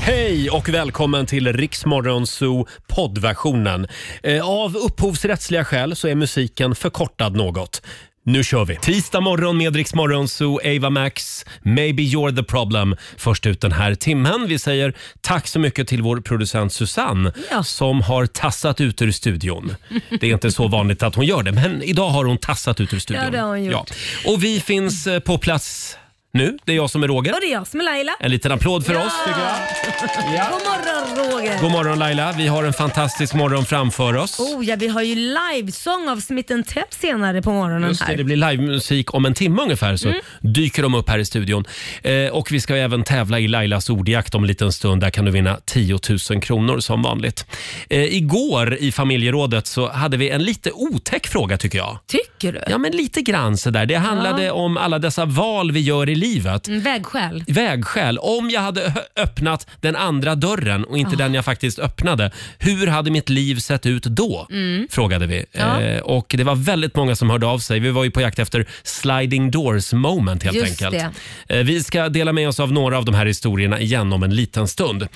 Hej och välkommen till Riksmorgon Zoo poddversionen. Eh, Av upphovsrättsliga skäl så är musiken förkortad något. Nu kör vi! Tisdag morgon med Riksmorgon Zoo, Ava Max, Maybe You're the Problem. Först ut den här timmen. Vi säger tack så mycket till vår producent Susanne som har tassat ut ur studion. Det är inte så vanligt att hon gör det, men idag har hon tassat ut ur studion. Ja, det har hon gjort. Och vi finns eh, på plats nu. Det är jag som är Roger. Och det är jag som är Laila. En liten applåd för oss tycker jag. God morgon Roger! God morgon Laila, vi har en fantastisk morgon framför oss. Oh, ja, vi har ju livesång av Smith Tepp senare på morgonen Just det, här. det blir livemusik om en timme ungefär så Mm. dyker de upp här i studion. Eh, och vi ska även tävla i Lailas ordjakt om en liten stund. Där kan du vinna 10 000 kronor som vanligt. Eh, igår i familjerådet så hade vi en lite otäck fråga tycker jag. Tycker du? Ja men lite grann sådär. Det handlade Ja. om alla dessa val vi gör i livet. Mm, Vägskäl. Vägskäl. Om jag hade ö- öppnat den andra dörren och inte Ah. den jag faktiskt öppnade, hur hade mitt liv sett ut då? Mm. Frågade vi. Ja. Eh, och Det var väldigt många som hörde av sig. Vi var ju på jakt efter sliding doors moment helt Just enkelt. Eh, vi ska dela med oss av några av de här historierna igen om en liten stund.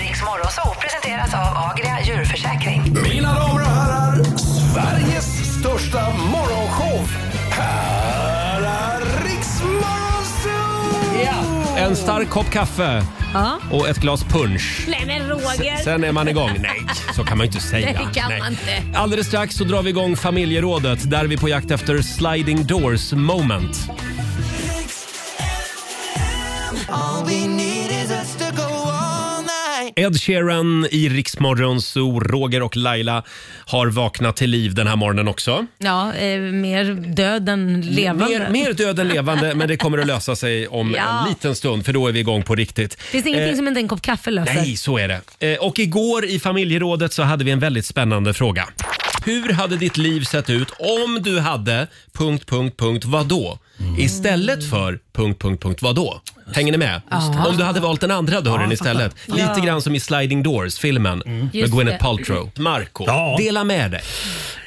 Riks Morgonzoo presenteras av Agria djurförsäkring. Mina damer och herrar, Sveriges största morgonshow. Här är Riks Morgonzoo! En stark kopp kaffe Ja. och ett glas punsch. Nej men Roger! S- sen är man igång. Nej, så kan man ju inte säga. Det kan Nej. man inte. Alldeles strax så drar vi igång familjerådet där vi är på jakt efter sliding doors moment. All we need is us to go all night. Ed Sheeran i Riksmorgon Zoo. Roger och Laila har vaknat till liv den här morgonen också. Ja, eh, mer död än levande. Mer, mer död än levande, men det kommer att lösa sig om Ja. en liten stund för då är vi igång på riktigt. Finns det ingenting Eh, som inte en kopp kaffe löser? Nej, så är det. Eh, Och igår i familjerådet så hade vi en väldigt spännande fråga. Hur hade ditt liv sett ut om du hade... Punkt, punkt, punkt, vadå? Mm. Istället för... Punkt, punkt, punkt, vadå? Hänger ni med? Just det. Om du hade valt den andra dörren istället. Ja. Mm. Lite grann som i Sliding Doors-filmen med Just Gwyneth det. Paltrow. Marco, Ja. dela med dig.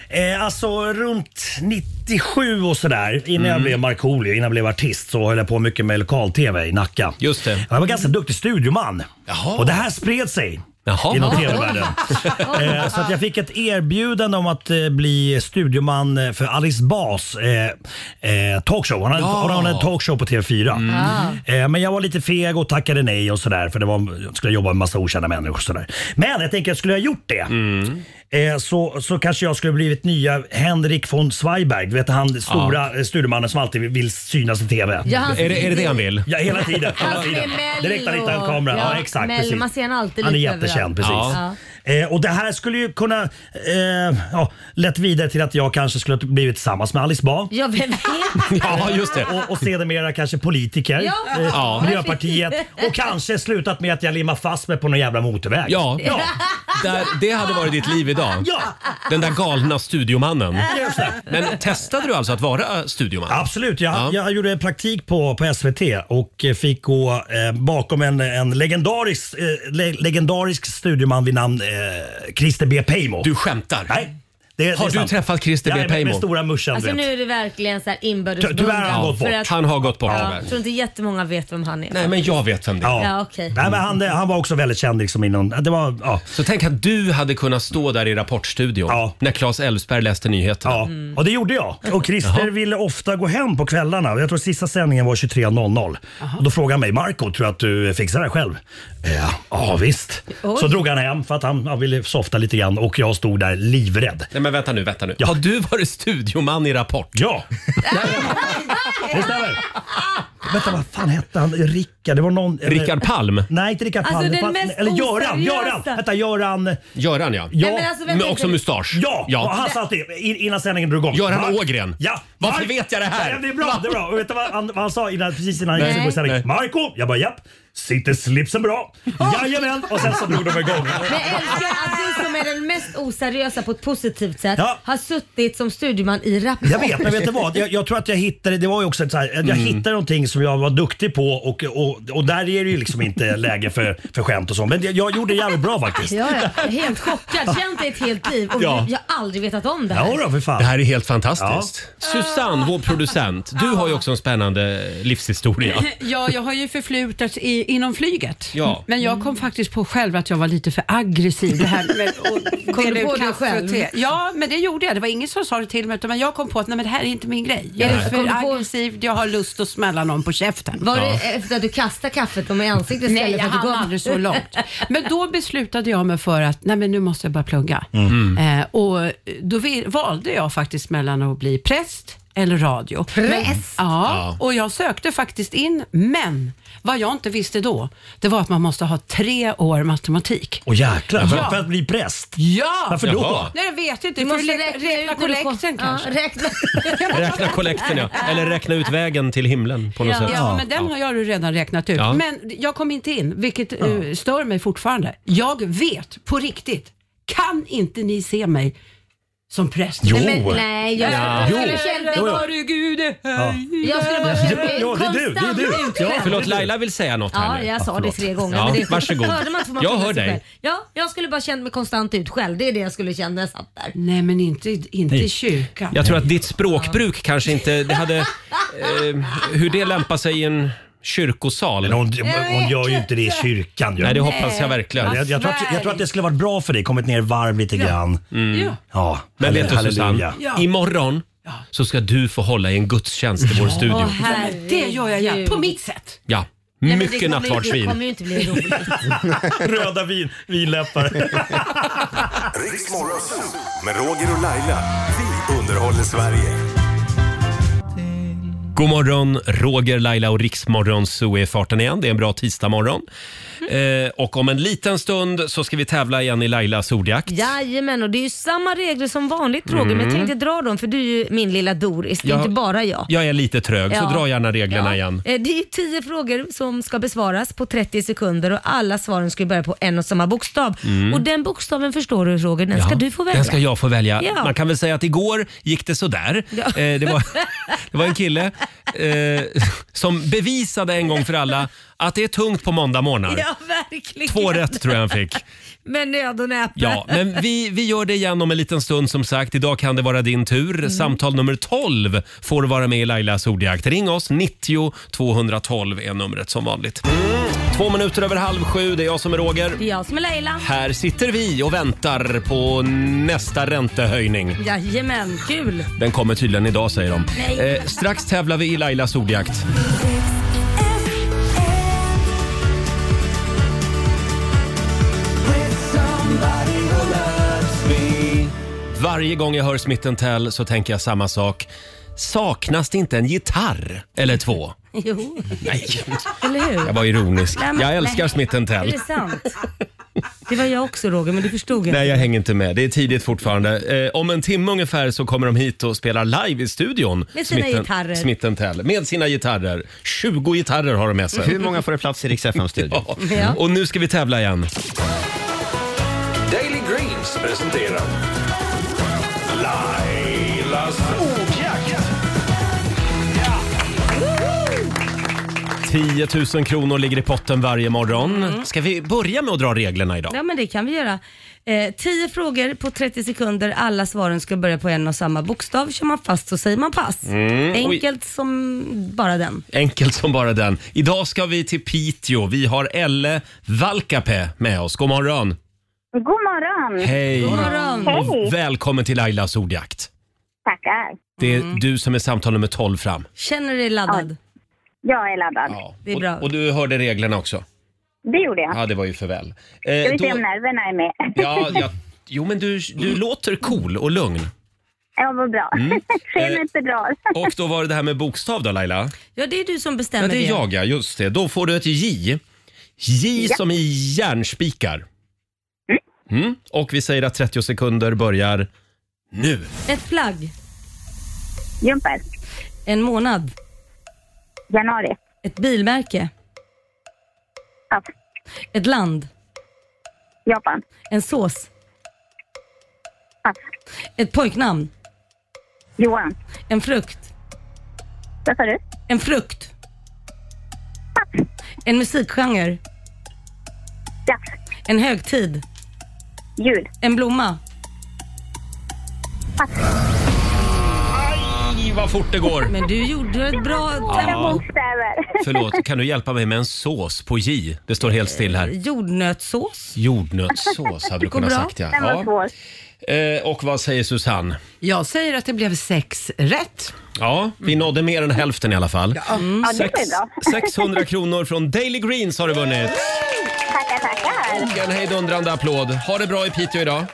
Eh, alltså runt 97 och sådär, innan jag Mm. blev Markoolio, innan jag blev artist, så höll jag på mycket med lokal-tv i Nacka. Just det. Jag var ganska duktig studioman. Och det här spred sig. Inom tv-världen. eh, så att jag fick ett erbjudande om att eh, bli studioman eh, för Alice Bas eh, eh, talkshow. Hon hade, Ja. hon hade en talkshow på TV4. Mm. Ah. Eh, men jag var lite feg och tackade nej och sådär för det var, jag skulle jobba med massa okända människor. Och sådär. Men jag tänker, skulle jag ha gjort det Mm. eh, så, så kanske jag skulle blivit nya Henrik von Zweiberg. Du vet han stora eh, studiomannen som alltid vill synas i TV. Ja, han- Är det- är det det han vill? Ja, hela tiden. Han Hela som tiden. är Mello. Direkt han hittar en kamera. Ja, exakt. Mello, precis. Man ser han alltid Han är lite jättekänd, överallt. precis. Eh, och det här skulle ju kunna eh, ja, lett vidare till att jag kanske skulle ha blivit tillsammans med Alice Bah. Ja, vem vet? Och, och sedermera kanske politiker, Ja. eh, Ja. Miljöpartiet och kanske slutat med att jag limmar fast mig på någon jävla motorväg. Ja. Där, det hade varit ditt liv idag. Ja. Den där galna studiomannen. Just det. Men testade du alltså att vara studioman? Absolut, jag, jag gjorde praktik på, på SVT och eh, fick gå eh, bakom en, en legendarisk, eh, le, legendarisk studioman vid namn eh, Christer B. Pejmo. Du skämtar? Nej. Det, Har det är du sant. träffat Christer B. Ja, med- Pejmo? Med stora muschen, Alltså du vet. nu är det verkligen så här inbördes Ty- tyvärr har han beundran. gått bort. För att- Han har gått bort, Ja, tyvärr. jag tror inte jättemånga vet vem han är. Nej, men jag vet vem det är. Ja, Ja, okej. Nej, men han, han var också väldigt känd liksom inom... Det var, ja. Så tänk att du hade kunnat stå där i Rapportstudion när Claes Elfsberg läste nyheterna. Ja, Mm. och det gjorde jag. Och Christer ville ofta gå hem på kvällarna. Jag tror sista sändningen var 23.00. Och Då frågade han mig, Marco tror du att du fixar det här själv? Eh, Ja, ja visst. Oj. Så drog han hem för att han, han ville softa lite grann och jag stod där livrädd. Nej men vänta nu, vänta nu. Har du varit studioman i Rapport? Ja! Det stämmer. Vänta, vad fan hette han? Rickard? Det var någon... Rickard Palm? Nej, inte Rickard Alltså, Palm. den Det fanns- mest eller Göran, oseriösa. Göran! Vänta, Göran... Göran ja. Ja, men alltså, vem Med heter också det? mustasch. Ja, och han sa alltid in- innan sändningen drog igång. Göran Mark- Ågren. Ja. Varför Mark- vet jag det här? Ja, det är bra. Det är bra. Och vet du vad han, vad han sa innan, precis innan han Nej. gick på sändningen? Nej. Ah! Marco! Jag bara japp. Sitter slipsen bra? Jajamän! Och sen så drog de igång. Men jag älskar att du som är den mest oseriösa på ett positivt sätt Ja. har suttit som studieman i Rapport. Jag vet, men vet du vad? Jag, jag tror att jag hittade, det var ju också ett så här, Mm. jag hittade någonting som jag var duktig på och, och, och där är det ju liksom inte läge för, för skämt och så. Men jag, jag gjorde det jävligt bra faktiskt. Ja, ja. Jag är Helt chockad. Känt dig ett helt liv och Ja. jag har aldrig vetat om det här. Det här är helt fantastiskt. Ja. Susanne, vår producent, du har ju också en spännande livshistoria. Ja, jag har ju förflutat i, inom flyget. Ja. Men jag kom faktiskt på själv att jag var lite för aggressiv. Det här med att Kom du dela ut på det kaffe och själv? te. Ja, men det gjorde jag. Det var ingen som sa det till mig, utan men jag kom på att nej, men det här är inte min grej. Jag Nej. är Kom för du på- aggressiv, jag har lust att smälla någon på käften. Var det eh, efter att du kastade kaffet dem i ansiktet Nej, istället jag för att du hann gav- aldrig så långt. Men då beslutade jag mig för att nej, men nu måste jag bara plugga. Mm. Eh, och då vi, valde jag faktiskt mellan att bli präst eller radio. Präst? Ja, och jag sökte faktiskt in, men vad jag inte visste då, det var att man måste ha tre år matematik. Åh jäklar, för, Ja. för att bli präst? Ja! Varför då? Jaha. Nej, jag vet inte. Du För måste att räkna räkna, ut när du kom- kollekten kanske. Ja, räkna. Räkna kollekten ja, eller räkna ut vägen till himlen på något Ja, sätt. men den har jag ju redan räknat ut. Ja. Men jag kom inte in, vilket eh, stör mig fortfarande. Jag vet på riktigt, kan inte ni se mig som präst? Jo. Nej, men, nej, jag, Ja. jag skulle Jo. känt Jo, mig jo. bara... Herre Gud, Jag skulle bara känt mig Ja, det är du, det är konstant du. Ja, utskämd. förlåt, Laila vill säga något här Ja, nu. jag sa det förlåt. tre gånger. Ja, men det är- varsågod. Hörde man inte hur man Jag skyller hör sig dig. själv? Ja, jag skulle bara känt mig konstant ut själv. Det är det jag skulle känna när jag satt där. Nej, men inte, inte i kyrkan. Jag tror att ditt språkbruk kanske inte, det hade, eh, hur det lämpar sig i en kyrkosal. Men hon, hon gör ju inte det i kyrkan. ju. Nej, det hoppas jag verkligen. jag, jag, tror att, jag tror att det skulle varit bra för dig, kommit ner varm lite grann. Ja. Ja, Mm. Men vet du Susanne, halleluja. Ja. imorgon så ska du få hålla i en gudstjänst i vår studio. Men det gör jag gärna, på mitt sätt. Ja, mycket Det kommer nattvardsvin. ju inte bli roligt. Röda vin, vinläppar. Riks Morgonzoo med Roger och Laila. Vi underhåller Sverige. God morgon, Roger, Laila och Riksmorgon så är farten igen. Det är en bra tisdagmorgon. Mm. Eh, och om en liten stund så ska vi tävla igen i Lailas ordjakt. Jajamän, och det är ju samma regler som vanligt Roger, men jag tänkte dra dem för du är ju min lilla Doris, det är Mm. Jag- inte bara jag. Jag är lite trög, så Ja. dra gärna reglerna Ja. igen. Eh, Det är ju 10 frågor som ska besvaras på 30 sekunder och alla svaren ska ju börja på en och samma bokstav. Och den bokstaven förstår du Roger, den ska Mm. Ja, du få välja. Den ska jag få välja. Ja. Man kan väl säga att igår gick det sådär. Eh, det, var, det var en kille eh, som bevisade en gång för alla att det är tungt på måndag morgnar. Ja, verkligen. Två rätt tror jag han fick. Men nöd och näppe. Ja, men vi, vi gör det igen om en liten stund som sagt. Idag kan det vara din tur. Samtal nummer 12 får vara med i Lailas ordjakt. Ring oss, 90 212 är numret som vanligt. Två minuter över halv sju, det är jag som är Roger. Det är jag som är Laila. Här sitter vi och väntar på nästa räntehöjning. Jajamän, kul. Den kommer tydligen idag säger de. Nej. Eh, strax tävlar vi i Lailas ordjakt. Varje gång jag hör Smith Tell så tänker jag samma sak. Saknas det inte en gitarr eller två? Jo, Nej, eller hur? jag var ironisk. Nej, men- Jag älskar nej. Smith Är Tell. det sant? Det var jag också Roger, men du förstod inte. Nej, jag hänger inte med. Det är tidigt fortfarande. Eh, om en timme ungefär så kommer de hit och spelar live i studion. Med sina Smith- gitarrer. Smith Tell. Med sina gitarrer. 20 gitarrer har de med sig. Hur många får det plats i Rix studio Ja. Ja. Och nu ska vi tävla igen. Daily Greens presenterar Lailas ordjakt. 10 000 kronor ligger i potten varje morgon. Mm. Ska vi börja med att dra reglerna idag? Ja men det kan vi göra. Eh, 10 frågor på 30 sekunder, alla svaren ska börja på en och samma bokstav. Kör man fast så säger man pass. Mm. Enkelt som bara den. Enkelt som bara den. Idag ska vi till Piteå. Vi har Elle Valkapää med oss. God morgon! God morgon! Hej! God morgon. Och välkommen till Lailas ordjakt. Tackar. Det är Mm. du som är samtal nummer 12 fram. Känner du dig laddad? Jag är laddad. Det är bra. Och, och du hörde reglerna också? Det gjorde jag. Ja, det var ju för väl. Eh, Ska vi då- se om Mm. nerverna är med? ja, ja, jo, men du, du låter cool och lugn. Ja, vad bra. Sken Eh. inte drar. Och då var det det här med bokstav då Laila? Ja det är du som bestämmer Ja, det är jag ja, just det. Då får du ett J. J som i järnspikar. Mm. Och vi säger att 30 sekunder börjar nu. Ett plagg, Jumper. en månad, Januari. ett bilmärke, Pass. ett land, Japan. en sås, Pass. ett pojknamn, Johan. en frukt, Vad sa du? en frukt, en musikgenre, Jazz. en högtid, Jul. en blomma. Pass. Aj, Oj, vad fort det går. Men du gjorde ett bra tempo. Bokstäver. Förlåt, kan du hjälpa mig med en sås på J? Det står helt still här. Eh, Jordnötssås. Jordnötssås hade du Går kunnat bra. sagt ja. Den var svår. ja. Eh, Och vad säger Susanne? Jag säger att det blev sex rätt. Ja, vi nådde mer än hälften i alla fall. Ja, det Sex, var bra. 600 kronor från Daily Greens har du vunnit. Tackar, tackar. Och En hejdundrande applåd. Ha det bra i Piteå idag.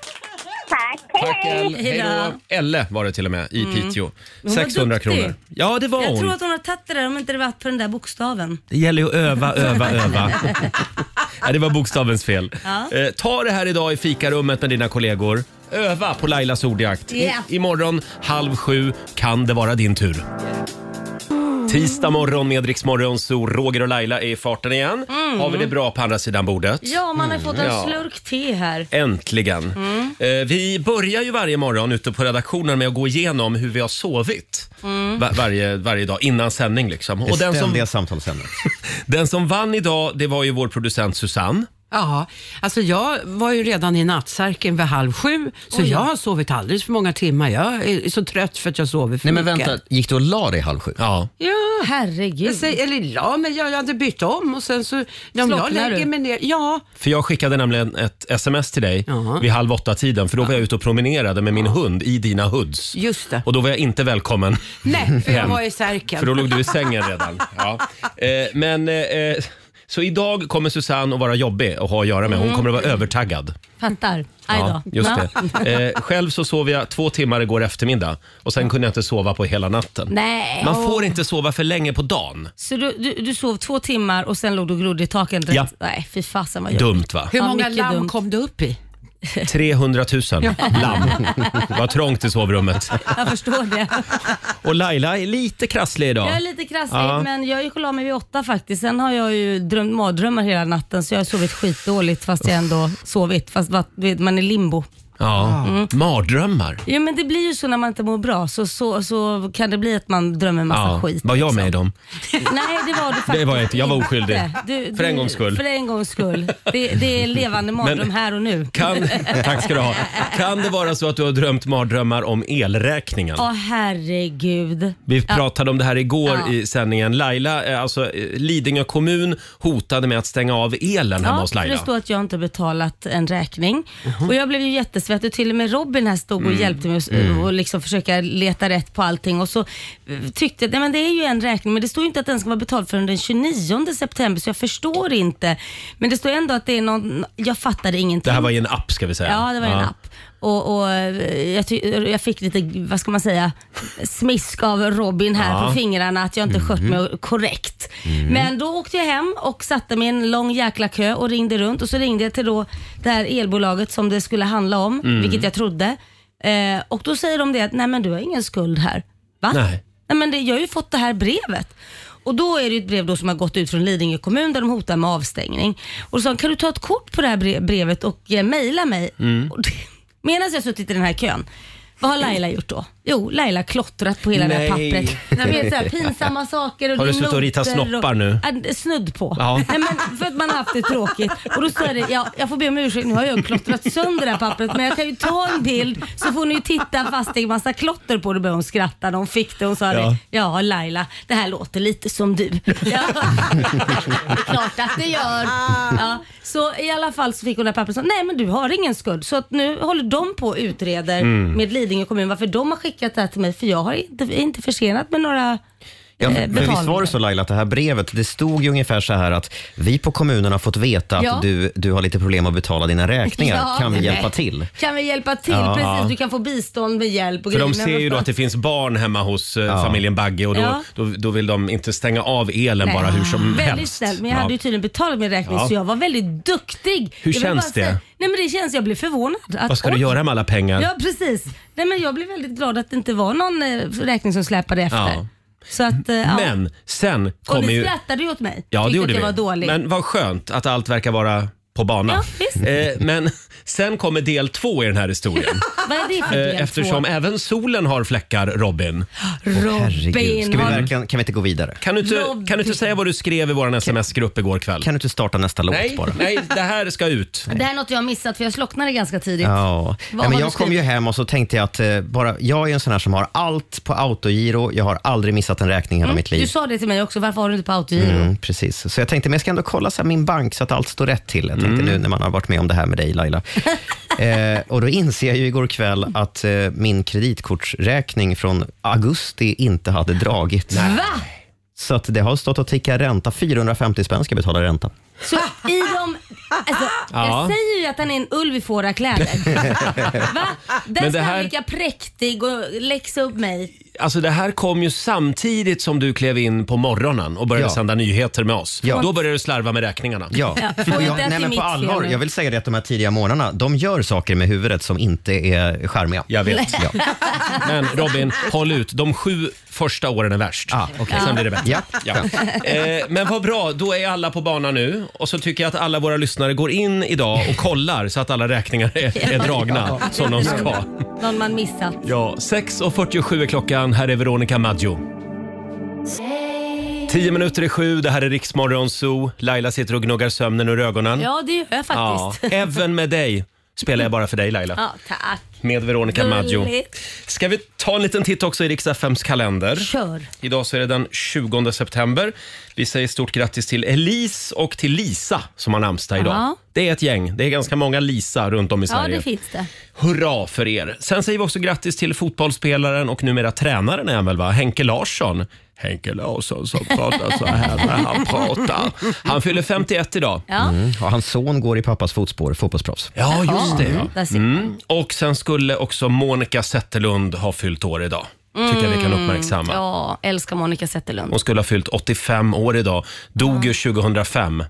Tack. Tack Hej, hej. El. Hej då. Elle var det till och med i Piteå. Mm. var 600 duktig. kronor. Ja, det var Jag tror hon. att hon har tagit det där om inte det varit för den där bokstaven. Det gäller ju att öva, öva, öva. Nej, det var bokstavens fel. Eh, ta det här idag i fikarummet med dina kollegor. Öva på Lailas ordjakt. I, Yeah. imorgon halv sju kan det vara din tur. Tisdag morgon med Rix Morgon, så Roger och Laila är i farten igen. Har vi det bra på andra sidan bordet? Ja, Mm. man har fått en ja. slurk te här. Äntligen. Eh, vi börjar ju varje morgon ute på redaktionen med att gå igenom hur vi har sovit Mm. Va- varje, varje dag innan sändning. Liksom. Det Och den som, ständiga samtalsämnet. den som vann idag det var ju vår producent Susanne. Ja, alltså jag var ju redan i nattsärken vid halv sju, så jag har sovit alldeles för många timmar. Jag är så trött för att jag sover för Nej men mycket. vänta, gick du och la dig halv sju? Ja. Ja, jag Herregud. säger, eller ja, men jag, jag hade bytt om och sen så... Om jag Slocknar lägger du? mig ner... Ja, För jag skickade nämligen ett sms till dig Jaha. vid halv åtta-tiden för då var jag ute och promenerade med min hund i dina hoods. just det. Och då var jag inte välkommen. Nej, för jag Hem. var i särken. För då låg du i sängen redan. Ja. Eh, men, eh, eh, så idag kommer Susanne att vara jobbig att ha att göra med. Hon kommer att vara övertaggad. Fattar. Aj då. Ja, just Ja. det. Eh, själv så sov jag två timmar igår eftermiddag och sen kunde jag inte sova på hela natten. Nej. Man får inte sova för länge på dagen. Så du, du, du sov två timmar och sen låg du och glodde i taken? direkt? Ja. Nej, fy fasen vad jobbigt. Dumt va? Hur Ja, många mycket lamm dumt. kom du upp i? 300 000 lamm. Vad trångt i sovrummet. Jag förstår det. Och Laila är lite krasslig idag. Jag är lite krasslig Ja. men jag gick och la mig vid åtta faktiskt. Sen har jag ju drömt mardrömmar hela natten så jag har sovit skitdåligt fast jag ändå sovit. Fast va- du vet, man är limbo. Ja. Mardrömmar. Mm. Ja men det blir ju så när man inte mår bra så, så, så kan det bli att man drömmer massa Ja. skit. Var jag med i dem? Nej det var du faktiskt Det var jag inte. Jag var oskyldig. inte. Du- För en du- gångs skull. För en gångs skull. Det, det är levande mardröm Men- här och nu. Kan, tack ska du ha. Kan det vara så att du har drömt mardrömmar om elräkningen? Åh herregud. Vi pratade om det här igår Ja. i sändningen. Laila, eh, alltså eh, Lidingö kommun hotade med att stänga av elen hemma hos för det Laila. står att jag inte har betalat en räkning. Och jag blev ju jättesvettig. Till och med Robin här stod Mm. och hjälpte mig att- och liksom försöka leta rätt på allting. Och så eh, tyckte jag, nej men det är ju en räkning, men det står ju inte att den ska vara betald förrän den 29 september, så jag förstår inte. Men det står ändå att det är någon, jag fattade ingenting. Det här var i en app ska vi säga. Ja, det var en app. Och, och eh, jag, ty- jag fick lite, vad ska man säga, smisk av Robin här Ja. Mm. på fingrarna att jag inte skött mig korrekt. Men då åkte jag hem och satte mig i en lång jäkla kö och ringde runt och så ringde jag till då det här elbolaget som det skulle handla om, Mm. vilket jag trodde. Eh, och då säger de det att, nej men du har ingen skuld här. Va? Nej. Nej, men det, jag har ju fått det här brevet. Och då är det ju ett brev då som har gått ut från Lidingö kommun där de hotar med avstängning. Och så sa de, kan du ta ett kort på det här bre- brevet och eh, mejla mig? Och det, medan jag suttit i den här kön, vad har Laila gjort då? Jo, Laila har klottrat på hela det här Nej. pappret. Nej, men, det är så här, pinsamma saker. Och Har det är du suttit och ritat noter snoppar nu? Ja, det- Snudd på. Ja. Nej, men för att man har haft det tråkigt. Och då sa jag det, ja, jag får be om ursäkt, nu har jag klottrat sönder det här pappret men jag kan ju ta en bild så får ni ju titta fast det är massa klotter på det. Då började hon skratta när hon fick det. Hon sa det, ja Laila, det här låter lite som du. Ja, det är klart att det gör. Ja, så i alla fall så fick hon det här pappret och sa, nej men du har ingen skuld. Så att nu håller de på och utreder Mm. med Lidingö kommun varför de har skickat det här till mig för jag har inte, inte försenat med några Ja, eh, men visst var betalningar. det så Laila, att det här brevet, det stod ju ungefär så här att vi på kommunen har fått veta Ja. att du, du har lite problem att betala dina räkningar. Ja, kan vi nej. hjälpa till? Kan vi hjälpa till? Precis, du kan få bistånd med hjälp och För de grejer. Men ser ju då vad att det finns barn hemma hos eh, familjen Bagge och då, Ja. då, då vill de inte stänga av elen Nej. bara hur som Väldigt helst. snällt, men jag hade ju tydligen betalat min räkning Ja. så jag var väldigt duktig. Hur Jag vill känns bara det? säga- Nej men det känns, jag blev förvånad. Att, Vad ska du oj. göra med alla pengar? Ja precis. Nej men jag blev väldigt glad att det inte var någon eh, räkning som släpade efter. Ja. Så att, eh, ja. Men sen och kommer ni ju... skrattade ju åt mig. Ja, det Tyckte gjorde att jag vi. var dålig. Men vad skönt att allt verkar vara på banan. Ja, visst. Eh, men Sen kommer del två i den här historien. Vad är det för del Eh, Eftersom två? även solen har fläckar, Robin. Robin Ska vi har- verkligen, kan vi inte gå vidare? Kan du inte, Robin. kan du inte säga vad du skrev i vår sms-grupp igår kväll? Kan du inte starta nästa låt Nej, bara? nej, det här ska ut. Det här är något jag har missat för jag slocknade ganska tidigt. Ja. Vad ja men har jag du kom ju skrivit? hem och så tänkte jag att eh, bara, jag är en sån här som har allt på autogiro. Jag har aldrig missat en räkning i hela mitt liv. Mm, Du sa det till mig också, varför har du inte på autogiro? Mm, precis. Så jag tänkte, men jag ska ändå kolla så här min bank så att allt står rätt till. Jag Mm. tänkte nu när man har varit med om det här med dig Laila. eh, och då inser jag ju igår kväll att eh, min kreditkortsräkning från augusti inte hade dragit. Va? Så att det har stått och tickat ränta. 450 spänn ska jag betala ränta. Så i de... Alltså, Ja. Jag säger ju att han är en ulv i fårakläder. Va? Där Men det ska här- han lika präktig och läxa upp mig. Alltså det här kom ju samtidigt som du klev in på morgonen och började Ja. sända nyheter med oss. Ja. Då började du slarva med räkningarna. Ja, Ja, får och inte jag, att det är nej, men mitt på fel allvar. nu. Jag vill säga det att de här tidiga morgnarna, de gör saker med huvudet som inte är charmiga. Jag vet. Ja. Men Robin, håll ut. De sju första åren är värst. Ah, okej. Sen blir det bättre. Ja. Eh, men vad bra, då är alla på banan nu. Och så tycker jag att alla våra lyssnare går in idag och kollar så att alla räkningar är, är dragna som de ska. Någon man missat. Ja, 6.47 är klockan. Här är Veronica Maggio. 10 minuter i sju, det här är Riksmorgon Zoo. Laila sitter och gnuggar sömnen ur ögonen. Ja, det gör jag Ja, faktiskt. Ja, även med dig spelar jag bara för dig Laila. tack. Med Veronica Maggio. Gulligt. Ska vi ta en liten titt också i Rix FMs kalender? Kör. Idag så är det den 20 september. Vi säger stort grattis till Elise och till Lisa som har namnsdag idag. Ja. Det är ett gäng. Det är ganska många Lisa runt om i Ja, Sverige. det finns det. Hurra för er! Sen säger vi också grattis till fotbollsspelaren och numera tränaren är han väl va? Henke Larsson. Henke Larsson som pratar så här när han pratar. Han fyller 51 idag. Ja, Mm. Och hans son går i pappas fotspår, fotbollsproffs. Ja, just det. Ja. där ser Mm. Och sen skulle också Monica Zetterlund ha fyllt år idag. Tycker jag vi kan uppmärksamma. Mm. Ja, älskar Monica Zetterlund. Hon skulle ha fyllt 85 år idag. Dog ju 2005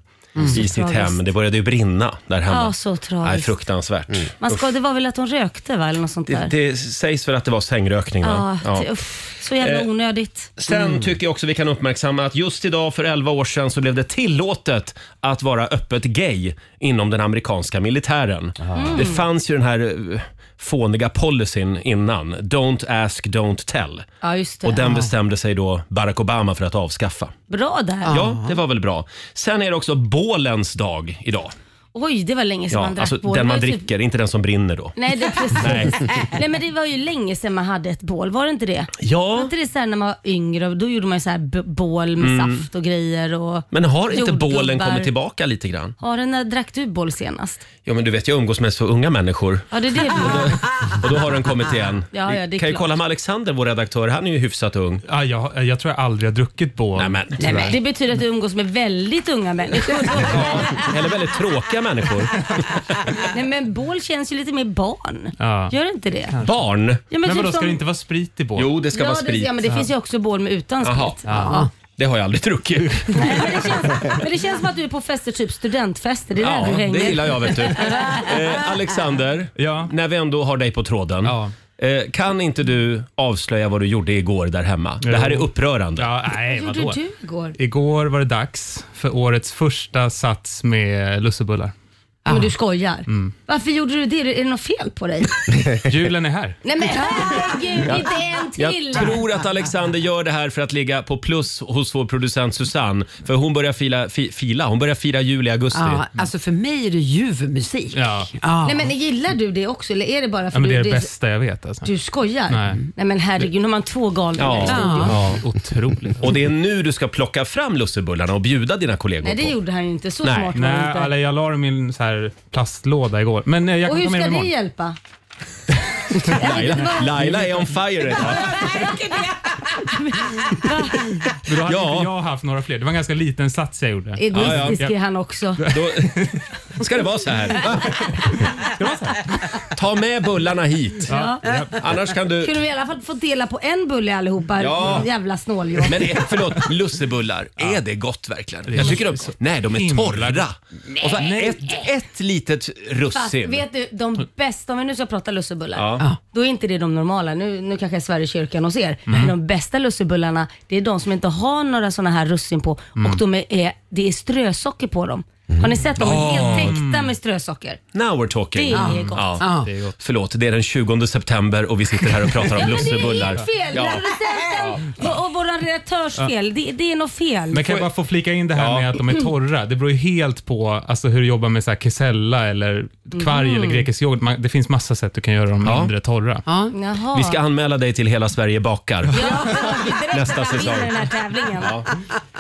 i sitt hem. Det började ju brinna där hemma. Mm. Ja, så tragiskt. Nej, fruktansvärt. Man ska, det var väl att hon rökte va? Eller något sånt Det, där. det sägs väl att det var sängrökning? ja, Va? Ja. det- uff, så jävla Eh, onödigt. Sen tycker jag också vi kan uppmärksamma att just idag för 11 år sedan så blev det tillåtet att vara öppet gay inom den amerikanska militären. Mm. Det fanns ju den här eh, fåniga policyn innan, don't ask, don't tell. Ja, just det. Och den bestämde sig då Barack Obama för att avskaffa. Bra där. Ja, det var väl bra. Sen är det också bålens dag idag. Oj, det var länge sedan Ja, man drack alltså bål. den Det man var ju typ- dricker, inte den som brinner då. Nej, det är precis. Nej. Nej. men det var ju länge sedan man hade ett bål, var det inte det? Var Ja, inte det så här när man var yngre, då gjorde man ju så här b- bål med saft och grejer och Mm. men har inte bålen jordgubbar. kommit tillbaka lite grann? Har den, när drack du bål senast? Ja, men du vet, jag umgås med så unga människor. Ja, det är det du Och då har den kommit igen. Ah. Ja, ja, det Vi är kan ju klart. kolla med Alexander, vår redaktör. Han är ju hyfsat ung. Ah, Ja, jag, jag tror jag aldrig har druckit bål. Nej, men. Nej, men Det betyder att du umgås med väldigt unga människor. Eller väldigt tråkiga människor. Nej, men bål känns ju lite mer barn. Ja. Gör det inte det? Barn. Ja, typ Men vadå, som- ska det inte vara sprit i bål? Jo, det ska ja, vara Det, sprit. ja, men det finns ju också bål med utan Jaha. sprit. Ja. Det har jag aldrig druckit. Nej, men, det känns, men det känns som att du är på fester, typ studentfester. Det är Ja, där du hänger. det gillar jag vet du. Eh, Alexander, Ja. när vi ändå har dig på tråden. Ja. Eh, kan inte du avslöja vad du gjorde igår där hemma? Det här är Jo. upprörande. Eh, Ja, nej, Vad vadå? gjorde du igår? Igår var det dags för årets första sats med lussebullar. Mm. Ja, men du skojar. Mm. Varför gjorde du det? Är det något fel på dig? Julen är här. Nej men herregud, inte en till! Jag tror att Alexander gör det här för att ligga på plus hos vår producent Susanne. För hon börjar fila, fi, fila. Hon börjar fira jul i augusti. Ja, alltså för mig är det ljuv musik. Ja. Ah. Nej men gillar du det också eller är det bara för Ja, men det du, är det bästa jag vet. Alltså. du skojar? Nej. Nej men herregud, nu har man två galningar Ja. i studion. Ja, otroligt. Och det är nu du ska plocka fram lussebullarna och bjuda dina kollegor Nej det på. gjorde han ju inte, så Nej. smart var Nej, han inte. eller jag la dem i en så här plastlåda igår. Men eh, jag Och kan hur komma med ska dem det imorgon. hjälpa? Laila, Laila är on fire idag. Men Då hade Ja. inte jag haft några fler. Det var en ganska liten sats jag gjorde. Egoistisk Ja, ja. är han också. Då, ska det vara så här? Ta med bullarna hit. Ja, ja. Annars kan du... Kunde vi i alla fall få dela på en bulle allihopa? Ja. Jävla snåljåp. Men är, förlåt, lussebullar. Är det gott verkligen? Jag tycker de... Nej, de är himla- torra. Och så ett, ett litet Fast russin. vet du, de bästa, om vi nu ska prata lussebullar, Ja. då är inte det de normala. Nu, nu kanske jag svär i kyrkan hos er, men de bästa lussebullarna, Mm. det är de som inte har några sådana här russin på och de är, är, det är strösocker på dem. Har Har ni sett dem? Mm. Helt täckta Mm. med strösocker. Now we're talking. Det är gott. Ja. Förlåt, det är den 20 september och vi sitter här och pratar om lussebullar. Ja, men det är ert fel. Ja. Recensenten och- och vår redaktörs Ja. fel. Det, det är något fel. Men kan jag bara få flika in det här med att de är torra? Det beror ju helt på alltså, hur du jobbar med så här kesella eller kvarg Mhm. eller grekisk yoghurt. Man, det finns massa sätt du kan göra dem mindre torra. Ja. Jaha. Vi ska anmäla dig till Hela Sverige bakar. Nästa Han vinner säsong. den här tävlingen. Ja.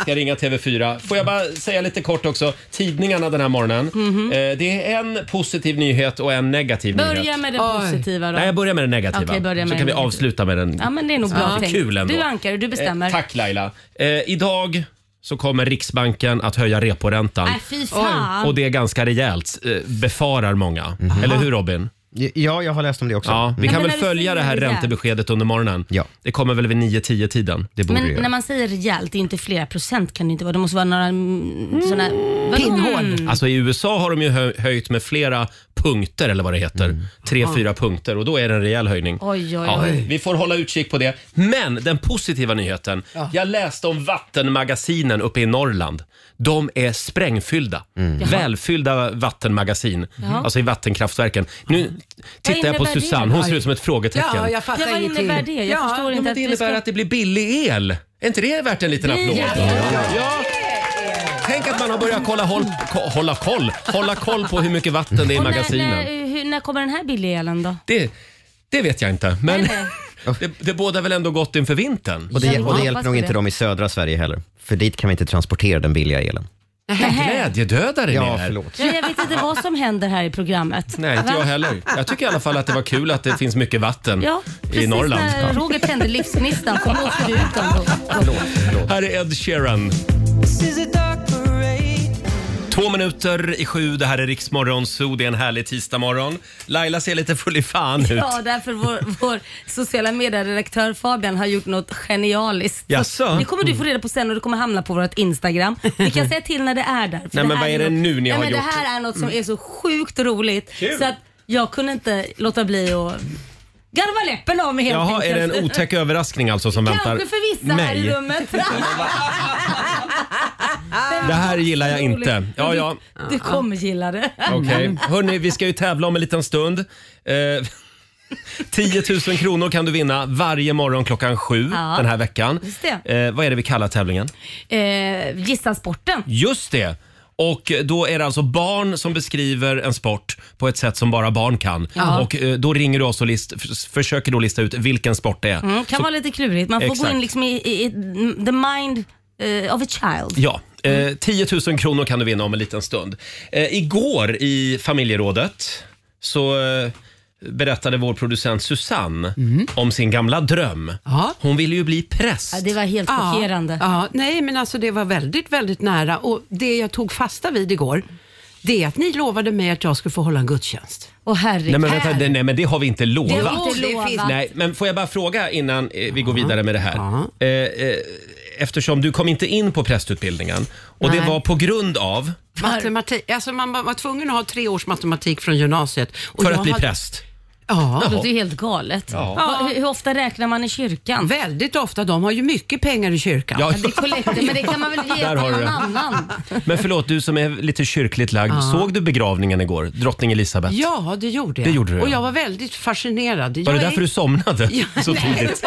Ska ringa TV4. Får jag bara säga lite kort också, tidningarna den här morgonen. Mhm. Eh, Det är en positiv nyhet och en negativ nyhet. Börja med det positiva då. Nej, jag börjar med den negativa. Okej, börja med så den kan vi negativa. avsluta med den Ja, men det är nog bra Ja. tänkt. Kul ändå. Du ankar, du bestämmer. Eh, tack Laila. Eh, idag så kommer Riksbanken att höja reporäntan. Nej, Äh, fy fan. Och det är ganska rejält, eh, befarar många. Eller hur Robin? Mhm. Ja, jag har läst om det också. Mm. Ja, vi Men kan väl när vi följa säger det här rejält. räntebeskedet under morgonen. Det kommer väl vid 9-10 tiden. Det Men när man säger rejält, det är inte flera procent kan det inte vara. Det måste vara några mm, sådana... vadå? Mm. Alltså i USA har de ju hö- höjt med flera punkter eller vad det heter. Mm. Tre, Ja. fyra punkter och då är det en rejäl höjning. Oj, oj, Ja, oj. vi får hålla utkik på det. Men den positiva nyheten. Jag läste om vattenmagasinen uppe i Norrland. De är sprängfyllda. Jaha. Välfyllda vattenmagasin. Jaha. Alltså i vattenkraftverken. Nu tittar jag på innebär det? Susanne. Hon ser ut som ett frågetecken. Ja, jag fattar Ja, vad ingenting. innebär det? Jag förstår Ja, inte men att det vi innebär ska- att det blir billig el. Är inte det värt en liten applåd? Ja. Ja. Tänk att man har börjat kolla, håll, ko- hålla koll hålla koll på hur mycket vatten det är i Och när- magasinen. När, hur, när kommer den här billiga elen då? Det, det vet jag inte, men Nej, det, det bådar väl ändå gott inför vintern. Och det, Ja, och det hoppas hjälper nog på inte det. dem i södra Sverige heller. För dit kan vi inte transportera den billiga elen. Glädjedödare ni Ja, är. förlåt. Ja, jag vet inte vad som händer här i programmet. Nej, inte Va? jag heller. Jag tycker i alla fall att det var kul att det finns mycket vatten Ja, i precis Norrland. när Roger tände livsgnistan så blåste du ut dem då. Här är Ed Sheeran. Två minuter i sju, det här är Riksmorgon Zoo. Det är en härlig tisdagmorgon. Laila ser lite full i fan ut. Ja, därför vår, vår sociala medieredaktör Fabian har gjort något genialiskt. Jaså? Det kommer du Mm. få reda på sen och det kommer hamna på vårt Instagram. Vi kan säga till när det är där. för men här vad är det något- nu ni Nej, har men gjort? Det här är något som Mm. är så sjukt roligt. Kul. Så att jag kunde inte låta bli att garva läppen av mig helt Jaha, är enkelt. det en otäck överraskning alltså som väntar Kanske för vissa här i mig? rummet. Det här gillar jag inte. Ja, ja. Du, du kommer gilla det. Okej. Hörni, vi ska ju tävla om en liten stund. Eh, 10 000 kronor kan du vinna varje morgon klockan sju Ja. den här veckan. Just det. Eh, vad är det vi kallar tävlingen? Eh, gissa sporten. Just det! Och då är det alltså barn som beskriver en sport på ett sätt som bara barn kan. Ja. Och eh, då ringer du oss och list, f- försöker då lista ut vilken sport det är. Mm, kan Så- vara lite klurigt. Man får Exakt. gå in liksom i, i, i the mind eh, of a child. Ja, eh, 10 000 kronor kan du vinna om en liten stund. Eh, igår i familjerådet så eh, berättade vår producent Susanne Mm. om sin gamla dröm. Hon ville ju bli präst. det var helt Ja, chockerande. Ja, nej, men alltså det var väldigt, väldigt nära och det jag tog fasta vid igår, det är att ni lovade mig att jag skulle få hålla en gudstjänst. Åh herregud. Nej men, vänta, det, nej men det har vi inte lovat. Det har vi inte lovat. Nej, men får jag bara fråga innan eh, vi går vidare med det här. Eh, eh, eftersom du kom inte in på prästutbildningen och det Nej. var på grund av, Matematik, alltså man var var tvungen att ha tre års matematik från gymnasiet. Och för jag att bli hade- präst. Ja. Det låter ju helt galet. Ja. Va- Hur, hur ofta räknar man i kyrkan? Väldigt ofta. De har ju mycket pengar i kyrkan. Ja. Det är kollekter, men det kan man väl ge Där till har du någon det. annan? Men förlåt, du som är lite kyrkligt lagd, Ja. såg du begravningen igår? Drottning Elisabeth? Ja, det gjorde jag. Det gjorde du, och ja. jag var väldigt fascinerad. Var jag det därför du somnade så tidigt?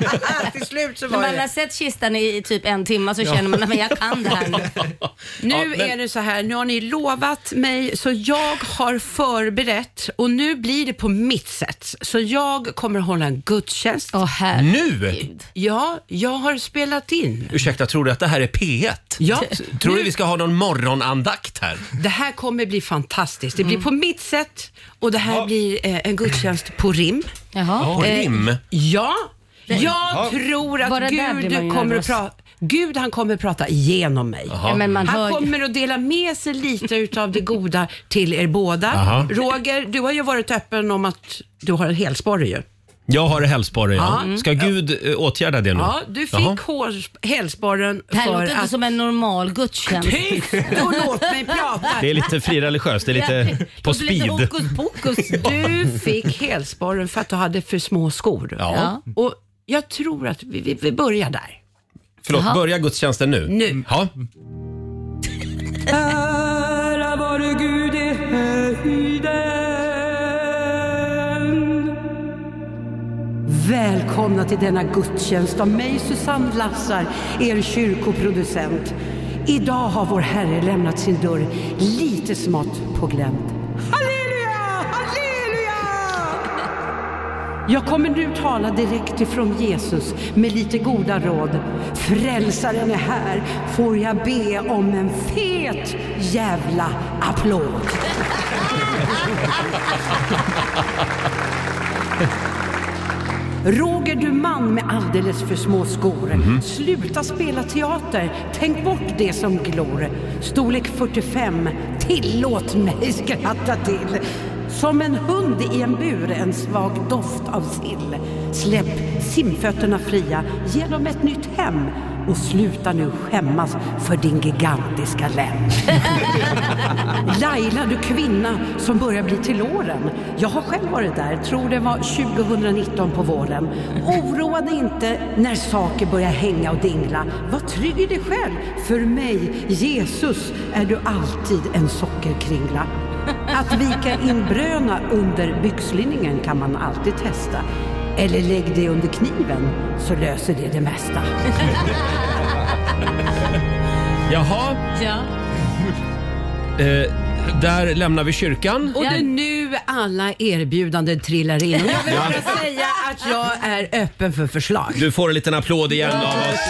Till slut så När man har sett kistan i typ en timme så Ja. känner man att jag kan det här nu. Nu Ja, men- är det så här, nu har ni lovat mig så jag har förberett och nu blir det på mitt sätt. Så jag kommer hålla en gudstjänst. Åh, Nu? Ja, jag har spelat in. Ursäkta, tror du att det här är P1? Ja. Tror du vi ska ha någon morgonandakt här? Det här kommer bli fantastiskt. Det blir Mm. på mitt sätt och det här blir eh, en gudstjänst på rim. Eh, Ja, på rim? Ja, jag Ja. tror att Bara där blir man ju Gud kommer att nervös. prata Gud han kommer att prata igenom mig. Ja, men man hör han ju- kommer att dela med sig lite utav det goda till er båda. Aha. Roger, du har ju varit öppen om att du har en helsporre ju. Jag har hälsporre, ja. Ja, mm. Ska Gud eh, åtgärda det nu? Ja, du fick Jaha. hårs- hälsporren Det här för låter inte att... som en normal gudstjänst. Tyst och låt mig prata! Det är lite frireligiöst, det är lite på Det blir lite speed. hokus pokus. Du fick hälsporren för att du hade för små skor. Ja. Och jag tror att vi, vi, vi börjar där. Förlåt, Jaha. börja gudstjänsten nu? Nu. Ja. Ära Välkomna till denna gudstjänst av mig Susanne Lassar, er kyrkoproducent. Idag har vår Herre lämnat sin dörr lite smått på glänt. Halleluja! Halleluja! Jag kommer nu tala direkt ifrån Jesus med lite goda råd. Frälsaren är här. Får jag be om en fet jävla applåd? Roger, du man med alldeles för små skor. Sluta spela teater. Tänk bort det som glor. Storlek 45. Tillåt mig skratta till. Som en hund i en bur, en svag doft av sill. Släpp simfötterna fria, ge dem ett nytt hem och sluta nu skämmas för din gigantiska lem. Laila, du kvinna som börjar bli till åren. Jag har själv varit där, tror det var 2019 på våren. Oroa dig inte när saker börjar hänga och dingla. Var trygg i dig själv. För mig, Jesus, är du alltid en sockerkringla. Att vika in bröna under byxlinningen kan man alltid testa. Eller lägg det under kniven så löser det det mesta. Jaha, Ja. eh, där lämnar vi kyrkan. Och det är nu alla erbjudanden trillar in. Och jag vill bara säga att jag är öppen för förslag. Du får en liten applåd igen av oss.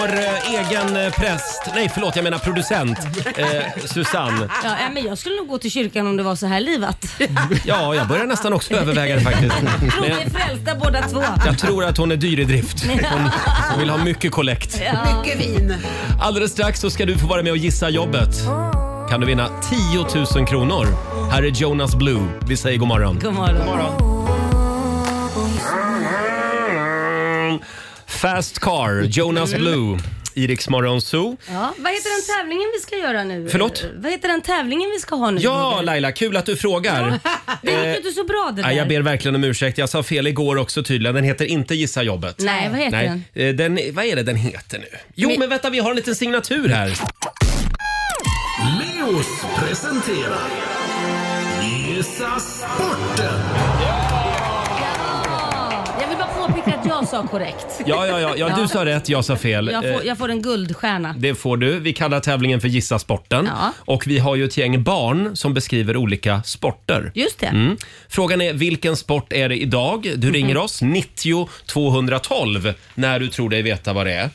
Vår eh, egen eh, präst, nej förlåt jag menar producent, eh, Susanne. Ja, äh, men jag skulle nog gå till kyrkan om det var så här livat. Ja, jag börjar nästan också överväga det faktiskt. Tror Men vi jag, är frälsta båda två. jag tror att hon är dyr i drift. Hon, hon vill ha mycket kollekt. Ja. Mycket vin. Alldeles strax så ska du få vara med och gissa jobbet. Kan du vinna 10 000 kronor? Här är Jonas Blue. Vi säger god morgon. God morgon. Fast Car, Jonas Blue. I Rix Morgon Zoo. Ja, vad heter den tävlingen vi ska göra nu? Förlåt? Eh, Vad heter den tävlingen vi ska ha nu? Ja, Laila, kul att du frågar. Det gick ju inte så bra det där. Nej, jag ber verkligen om ursäkt. Jag sa fel igår också tydligen. Den heter inte Gissa jobbet. Nej, vad heter den? Eh, den? Vad är det den heter nu? Jo, men, vänta, vi har en liten signatur här. Leos presenterar Gissa sporten. Jag vill bara påpeka att jag sa korrekt. Ja, ja, ja, ja du sa rätt, jag sa fel. Jag Eh, får, jag får en guldstjärna. Det får du. Vi kallar tävlingen för Gissa sporten. Ja. Och vi har ju ett gäng barn som beskriver olika sporter. Just det. Mhm. Mm. Frågan är vilken sport är det idag? Du ringer oss, 90 212, när du tror dig veta vad det är.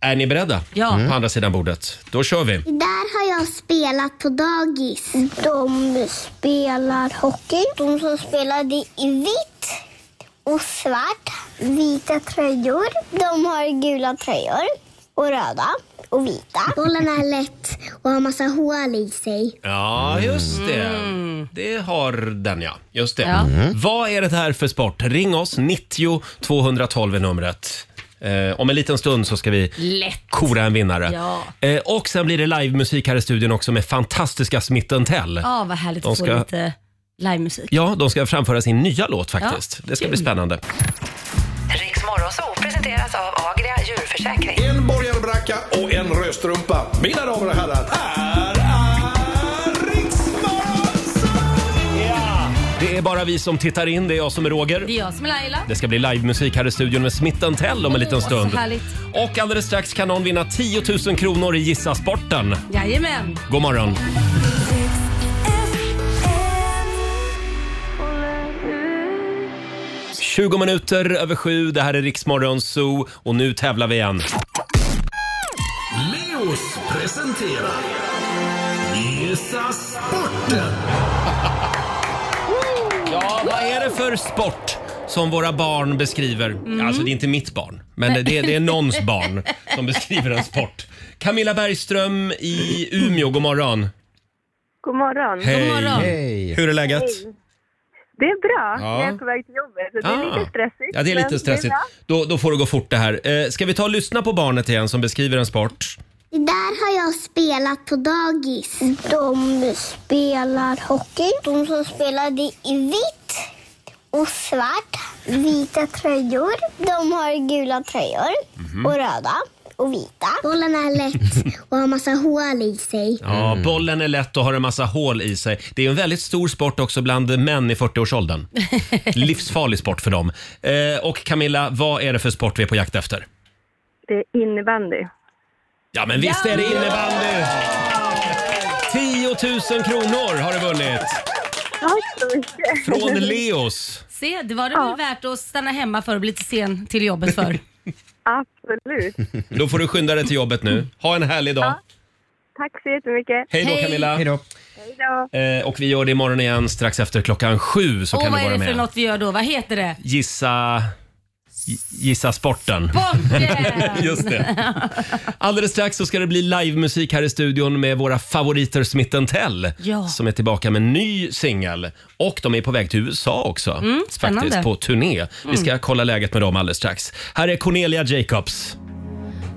Är ni beredda? Ja. På andra sidan bordet. Då kör vi. Där har jag spelat på dagis. De spelar hockey. De som spelade i vitt och svart. Vita tröjor. De har gula tröjor och röda och vita. Bollen är lätt och har massa hål i sig. Ja, just det. Mm. Det har den ja. Just det. Mm. Vad är det här för sport? Ring oss, 90 212 är numret. Eh, om en liten stund så ska vi Lätt. kora en vinnare. Ja. Eh, och sen blir det livemusik här i studion också med fantastiska Smith Tell. Ja, vad härligt De att ska- få lite livemusik. Ja, de ska framföra sin nya låt faktiskt. Ja, det ska kul. bli spännande. Riks Morgonzoo presenteras av Agria djurförsäkring. En borgarbracka och en rödstrumpa. Mina damer och herrar, här är Riksmorgon! Det är bara vi som tittar in, det är jag som är Roger. Det är jag som är Laila. Det ska bli livemusik här i studion med Smith Tell om en liten Åh, så stund. härligt. Och alldeles strax kan någon vinna 10 000 kronor i Gissa Sporten. Jajamän. God morgon! Mm. 20 minuter över sju, det här är Riksmorgon Zoo och nu tävlar vi igen. Leos presenterar Gissa sporten. Ja, vad är det för sport som våra barn beskriver? Alltså det är inte mitt barn, men det, det är någons barn som beskriver en sport. Camilla Bergström i Umeå, god morgon. God morgon. Hej! morgon. Hej! Hur är läget? Det är bra. Ja. Jag är på väg till jobbet. så Det är Ah. lite stressigt. Ja, det är men lite stressigt. bra. Då, då får det gå fort det här. Eh, ska vi ta och lyssna på barnet igen som beskriver en sport? Där har jag spelat på dagis. De spelar hockey. De som spelade i vitt och Mhm. svart. Vita tröjor. De har gula tröjor och röda och vita. Bollen är lätt och har massa hål i sig. Ja, bollen är lätt och har en massa hål i sig. Det är en väldigt stor sport också bland män i 40-årsåldern. Livsfarlig sport för dem. Eh, och Camilla, vad är det för sport vi är på jakt efter? Det är innebandy. Ja, men visst är det innebandy! 10 000 kronor har du vunnit från Leos. Se, det var det väl värt att stanna hemma för och bli lite sen till jobbet för. Absolut. Då får du skynda dig till jobbet nu. Ha en härlig dag. Tack så jättemycket. Hej då Camilla. Hej då. Hej då. Eh, och vi gör det imorgon igen strax efter klockan sju så och kan vad du är vara det för med. något vi gör då? Vad heter det? Gissa... Gissa sporten. Sporten! Just det. Alldeles strax så ska det bli livemusik här i studion med våra favoriter Smith Tell Ja. som är tillbaka med en ny singel. Och de är på väg till USA också, Mm, spännande. faktiskt på turné. Vi ska Mm. kolla läget med dem alldeles strax. Här är Cornelia Jacobs.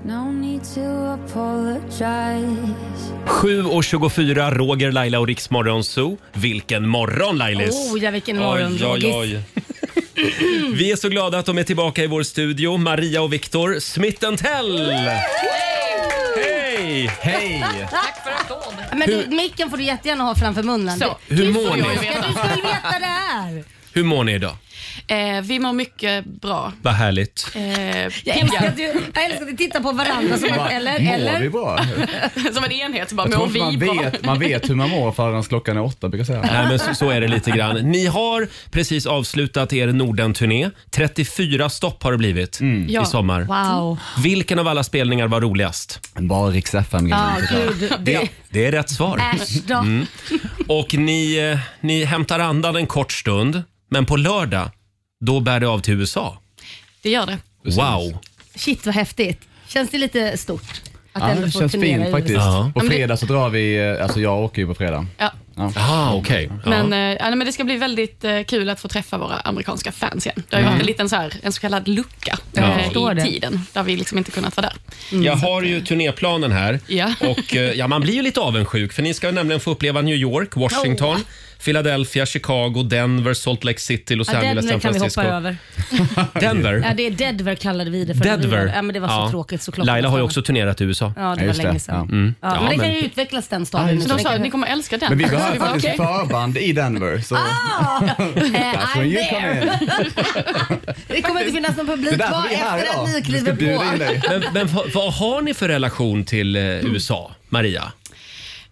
No need to apologize. 7.24, Roger, Laila och Riksmorgon Zoo. Vilken morgon Lailis! Oh, ja, vilken morgon, Rogis. Vi är så glada att de är tillbaka i vår studio, Maria och Viktor Smith Tell! Hej! Hej! Tack för applåd. Men du, micken får du jättegärna ha framför munnen. Så. Du- Hur du mår får- ni? Du ska- du ska väl veta det här? Hur mår ni idag? Eh, vi mår mycket bra. Vad härligt. Eh, Jag älskar att, du, jag älskar att vi tittar på varandra som att, Va? eller, Mår eller? vi bra? Som en enhet. så Bara, Jag mår tror inte vi man bra? vet, man vet hur man mår förrän klockan är åtta brukar jag säga. Nej, men så, så är det lite grann. Ni har precis avslutat er Norden-turné. 34 stopp har det blivit Mm. Ja. i sommar. Wow. Vilken av alla spelningar var roligast? Bara Rix fm Ja, gud. Det, Det är rätt svar. Mm. Äsch då. Och ni, eh, ni hämtar andan en kort stund, men på lördag, då bär det av till USA. Det gör det. Wow! Shit vad häftigt. Känns det lite stort? Att Ja, ändå det få känns turnera i fint USA? faktiskt. På Ja, men det- fredag så drar vi, eh, alltså jag åker ju på fredag. Ja. Ja. Ah, okej. Men, eh, ja, nej, men det ska bli väldigt eh, kul att få träffa våra amerikanska fans igen. Det har ju Mm. varit en liten så här, en så kallad lucka Ja. eh, Jag förstår i det. tiden, där vi liksom inte kunnat vara där. Mm. Jag har ju turnéplanen här. Ja. Och eh, ja, man blir ju lite avundsjuk för ni ska nämligen få uppleva New York, Washington, Oh. Philadelphia, Chicago, Denver, Salt Lake City, Los Ja, Angeles, Denver San kan vi Francisco. hoppa över. Denver? Ja, det är Denver kallade vi det för. Denver. Ja, men det var så Ja. tråkigt så klockan Laila har ju var också turnerat i USA. Ja, det Ja, var just det. länge sedan. Mm. Ja, men det kan ju utvecklas den staden. nu. Så de sa att kan- ni kommer älska den. Men vi behöver Så bara, faktiskt okej. förband i Denver. Så. Ah, eh, That's I'm when you come there. Det kommer inte finnas någon Det publik är kvar därför vi är här efter att idag. ni kliver på. Men, men vad, vad har ni för relation till eh, Mm. USA, Maria?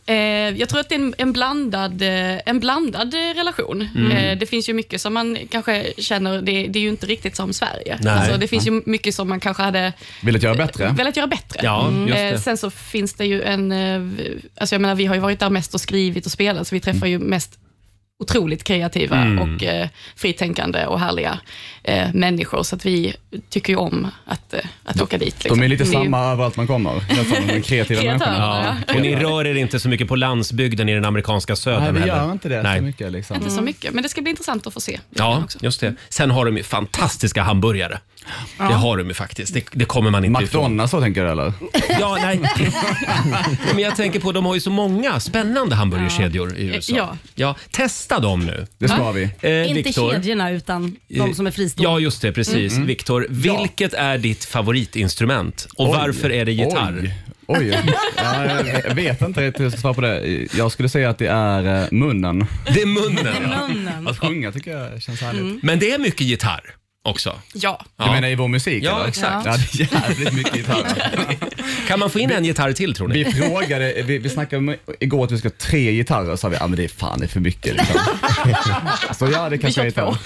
Eh, jag tror att det är en, en, blandad, eh, en blandad eh, relation. Mm. Eh, det finns ju mycket som man kanske känner, det, det är ju inte riktigt som Sverige. Nej. Alltså, det finns ju mycket som man kanske hade Vill att göra bättre? velat göra bättre. Ja, Mm. just Eh, det. Sen så finns det ju en, eh, alltså jag menar vi har ju varit där mest och skrivit och spelat, så vi träffar ju mest otroligt kreativa Mm. och eh, fritänkande och härliga eh, människor, så att vi tycker ju om att, eh, att åka dit. De är lite Liksom. Vi ju- samma överallt man kommer. Det är samma, De kreativa människorna. Och ni rör er inte så mycket på landsbygden i den amerikanska södern Nej, vi heller? gör inte det Nej. så mycket. Liksom. Mm. Inte så mycket, men det ska bli intressant att få se. Ja, just det. Sen har de ju fantastiska hamburgare. Ja. Det har de ju faktiskt. Det, det kommer man inte ifrån. McDonalds så tänker du eller? Ja, nej. Men jag tänker på, de har ju så många spännande hamburgerkedjor i USA. Ja. ja. Testa dem nu. Det ska Ja. vi. Eh, Inte Viktor. Eh, kedjorna utan de som är fristående. Ja, just det. Precis. Mm. Viktor, vilket är ditt favoritinstrument och Oj. varför är det gitarr? Oj. Oj, ja, jag vet inte riktigt hur jag ska svara på det. Jag skulle säga att det är eh, munnen. Det är munnen, ja. Att sjunga tycker jag känns härligt. Mm. Men det är mycket gitarr också. Ja. Du menar i vår musik? Ja, eller? exakt. Ja, det är jävligt mycket gitarr. Kan man få in en gitarr till tror ni? Vi frågade, vi, vi snackade om igår att vi ska ha tre gitarrer, sa vi, ja men det är fan det är för mycket. Liksom. Så ja, det kanske är gitarr.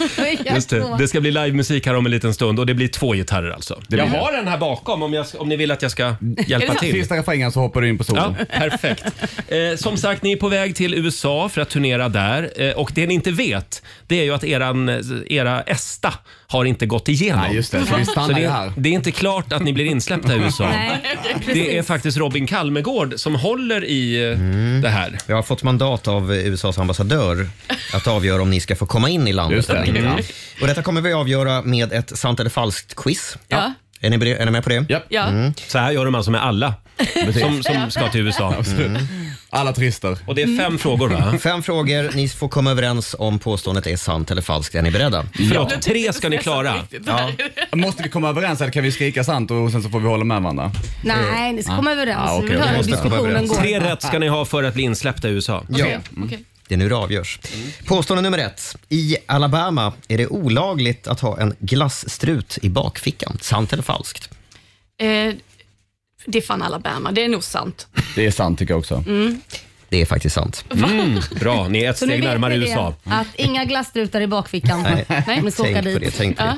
Just det. det ska bli livemusik här om en liten stund och det blir två gitarrer alltså. blir jag det. Mm. har en här bakom om, jag, om ni vill att jag ska hjälpa till. Sista refrängen så hoppar du in på solen. Ja, perfekt. Eh, som sagt, ni är på väg till USA för att turnera där. Eh, och det ni inte vet, det är ju att eran, eh, era ESTA har inte gått igenom. Nej, just det. Så vi stannar det, ju här. det är inte klart att ni blir insläppta i USA. Nej, Det är precis. faktiskt Robin Kalmegård som håller i eh, Mm. det här. Jag har fått mandat av eh, USAs ambassadör att avgöra om ni ska få komma in i landet Just det. eller inte. Mm. Och detta kommer vi avgöra med ett sant eller falskt quiz. Ja. Är ni, bere- är ni med på det? Ja. Så här gör de alltså med alla som, som ska till USA. Mm. Alla trister. Och det är fem frågor va? Fem frågor. Ni får komma överens om påståendet är sant eller falskt. Är ni beredda? Förlåt, tre ska ni klara. Ja. Måste vi komma överens eller kan vi skrika sant och sen så får vi hålla med varandra? Nej, ni ska komma överens. Ah, okej, Vi vill okej. höra hur Måste komma diskussionen går. Tre rätt ska ni ha för att bli insläppta i USA. Ja. Det är nu det avgörs. Påstående nummer ett. I Alabama är det olagligt att ha en glasstrut i bakfickan. Sant eller falskt? Eh, det är fan Alabama, det är nog sant. Det är sant tycker jag också. Mm. Det är faktiskt sant. Mm, bra, ni är ett Så nu vet ni det, Mm. Att inga glasstrutar i bakfickan. Nej, Nej, men ska åka tänk dit. på det. Tänk på Ja.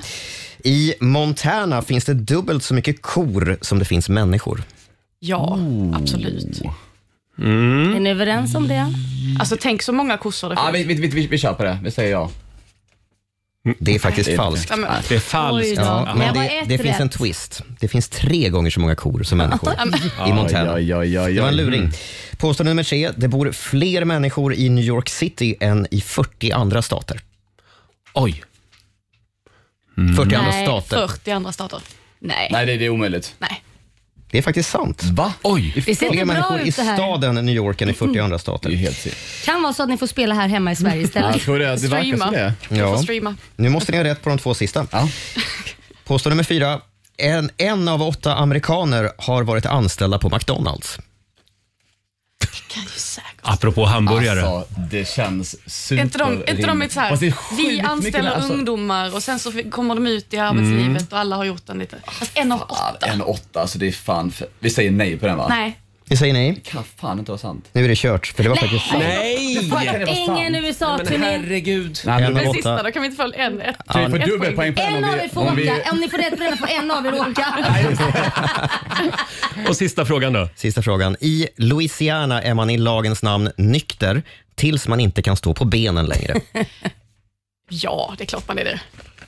det. I Montana finns det dubbelt så mycket kor som det finns människor. Ja, Oh. absolut. Mm. Är ni överens om det? Alltså tänk så många kossor det Ja, finns. Ah, vi, vi, vi, vi, vi kör på det. Vi säger ja. Det är faktiskt Nej, det är falskt. inte. Ja, men- Det är falskt. Oj då. Ja, Men men det var det, ett det finns en rätt. twist. Det finns tre gånger så många kor som människor Ja, men- i Montana. Aj, Det var en aj. luring. Mm. Påstående nummer tre. Det bor fler människor i New York City än i 40 andra stater. Oj. 40 andra Nej, stater. 40 andra stater. Nej. Nej, det, det är omöjligt. Nej. Det är faktiskt sant. Va? Oj. Det ser inte fler bra människor ut i det här. staden New York än i 40 andra stater. Det är helt sant. Kan vara så att ni får spela här hemma i Mm. Sverige istället. Du får streama. Nu måste ni ha rätt på de två sista. Påstående nummer fyra. En, en av åtta amerikaner har varit anställda på McDonalds. Apropå hamburgare. Alltså, det känns Är super... inte de, är inte de lite så typ Fast det är här, sjukt vi mycket anställer mer, alltså. Mm. ungdomar och sen så f- kommer de ut i arbetslivet och alla har gjort den lite. Fast en av åtta. En åtta, alltså det är fan... För... Vi säger nej på den va? Nej. Vi säger nej. Det kan fan inte vara sant. Nu är det kört, för det var Nej! faktiskt sant. Hur fan kan det vara sant? Ingen Nej, men USA-turné. Herregud. Nej, men Den åtta. sista då, kan vi inte få en? Ett, Ja, ett ni får dubbelpoäng på En av er får åka. Om ni får rätt på den får en av er åka. Och sista frågan då? Sista frågan. I Louisiana är man i lagens namn nykter tills man inte kan stå på benen längre. Ja, det är klart man är det.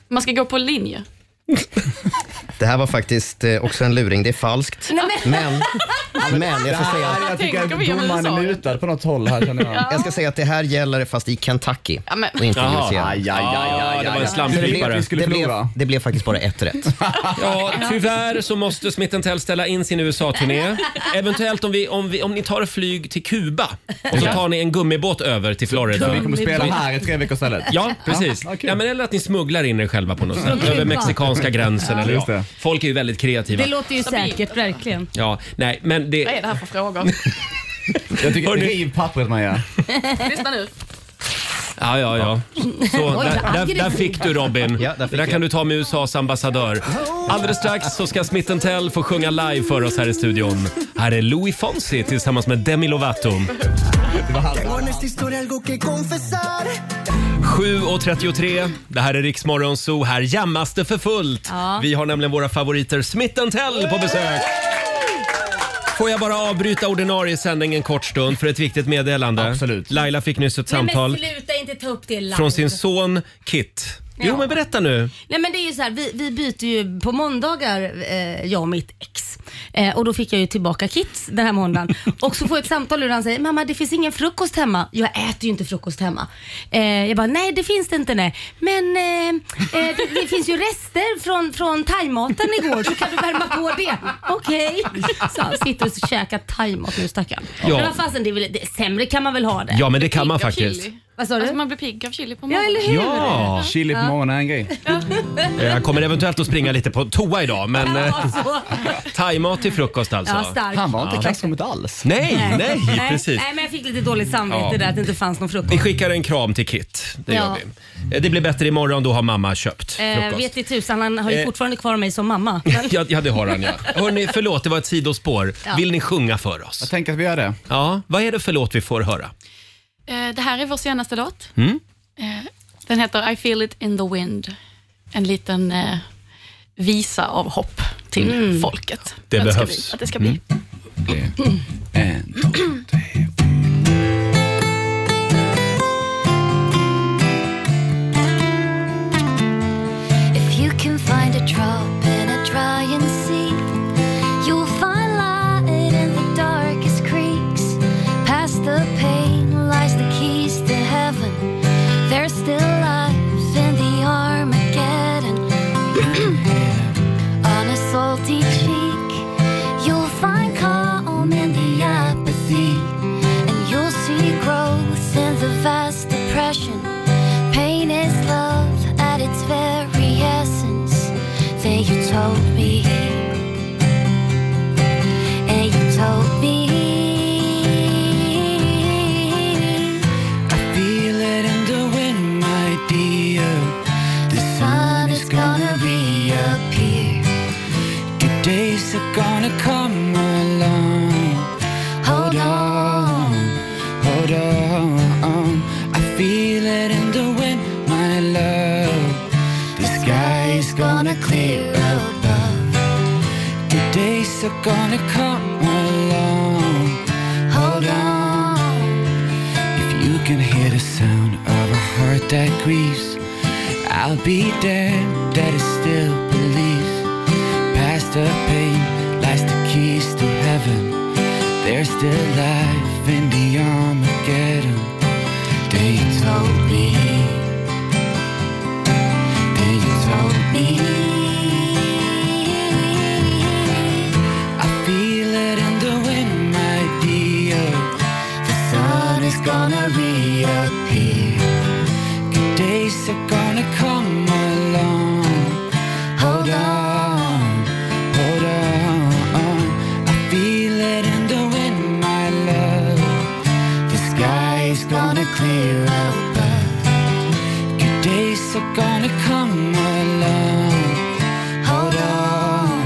Man ska gå på linje. Det här var faktiskt eh, också en luring. Det är falskt. Men, men jag får säga... Nej, jag tycker Tänk om vi gör att domaren USA. är lutad på något håll här känner jag. Jag ska säga att det här gäller fast i Kentucky Ja, men- och inte i Jaha. Louisiana. Aj, aj, aj, aj, aj, aj. Det var en slamkrypare. Det blev- Vi skulle Det blev, förlora. det blev faktiskt bara ett rätt. Ja, tyvärr så måste Smith Tell ställa in sin USA-turné. Eventuellt om, vi, om, vi, om ni tar flyg till Kuba och så Ja. tar ni en gummibåt över till Florida. Så vi kommer spela här i tre veckor istället? Ja, precis. Ja, men eller att ni smugglar in er själva på något Från sätt. Kuba. Över mexikanska gränsen. Ja. Eller, Just ja. Folk är ju väldigt kreativa. Det låter ju säkert, verkligen. Ja, nej, men det... Vad är det här för frågor? Jag tycker, riv pappret Maja. Lyssna nu. Ja, ja, ja. Så, Oj, där, där, där aggressiv. fick du Robin. det där kan du ta med USAs ambassadör. Alldeles strax så ska Smith Tell få sjunga live för oss här i studion. Här är Louis Fonsi tillsammans med Demi Lovato. Tengo en esta historia algo que confesar. 7.33, det här är Riksmorgon Zoo. Här jammas det för fullt. Ja. Vi har nämligen våra favoriter Smith Tell på besök. Får jag bara avbryta ordinarie sändning en kort stund för ett viktigt meddelande? Absolut. Laila fick nyss ett samtal Men sluta inte ta upp det live. från sin son Kit. Jo, Ja. men berätta nu. Nej men det är ju så här, vi, vi byter ju på måndagar, eh, jag och mitt ex. Eh, och då fick jag ju tillbaka Kits den här måndagen. och så får jag ett samtal ur han säger, mamma det finns ingen frukost hemma. Jag äter ju inte frukost hemma. Eh, jag bara, nej det finns det inte nej. Men eh, eh, det, det finns ju rester från, från thaimaten igår så kan du värma på det. Okej. Så han sitter och käkar thaimat nu stackarn. Ja. Men vad fasen, det är väl, det, sämre kan man väl ha det? Ja, men det kan man faktiskt. Vad sa du? Alltså man blir pigg av chili på Ja, morgonen. eller hur? Ja. Chili på Ja. morgonen är en grej. Eh, Jag kommer eventuellt att springa lite på toa idag, men eh, Alltså. thaimat till frukost alltså. Ja, starkt. Han var inte i Ja. klassrummet alls. Nej, nej, precis. Nej, men jag fick lite dåligt samvete Ja. där att det inte fanns någon frukost. Vi skickar en kram till Kit. Det gör Ja. vi. Eh, Det blir bättre imorgon, då har mamma köpt Eh, frukost. vet i tusan, han har ju Eh. fortfarande kvar mig som mamma. Men, Ja, ja, det har han ja. Hörrni, förlåt, det var ett sidospår. Ja. Vill ni sjunga för oss? Jag tänker att vi gör det. Ja, vad är det för låt vi får höra? Eh, Det här är vår senaste låt. Mm? Eh, Den heter I feel it in the wind. En liten eh, visa av hopp till Mm. folket. Det Önskar behövs. Vi, att det ska Mm. bli. Eh. If you can find a drop in a drying sea, you'll find light in the darkest creeks. Past the pain lies the keys to heaven. There's still life in the Armageddon. On a salty cheek, you'll find calm in the apathy. are gonna come along. Hold on. If you can hear the sound of a heart that grieves, I'll be there that it still believes. Past the pain lies the keys to heaven. There's still life in the Armageddon. They told me. They told me. I feel it in the wind, my dear. The sun is gonna reappear. Good days are gonna come along. Hold on, hold on. I feel it in the wind, my love. The sky is gonna clear up. Good days are gonna come along. Hold on.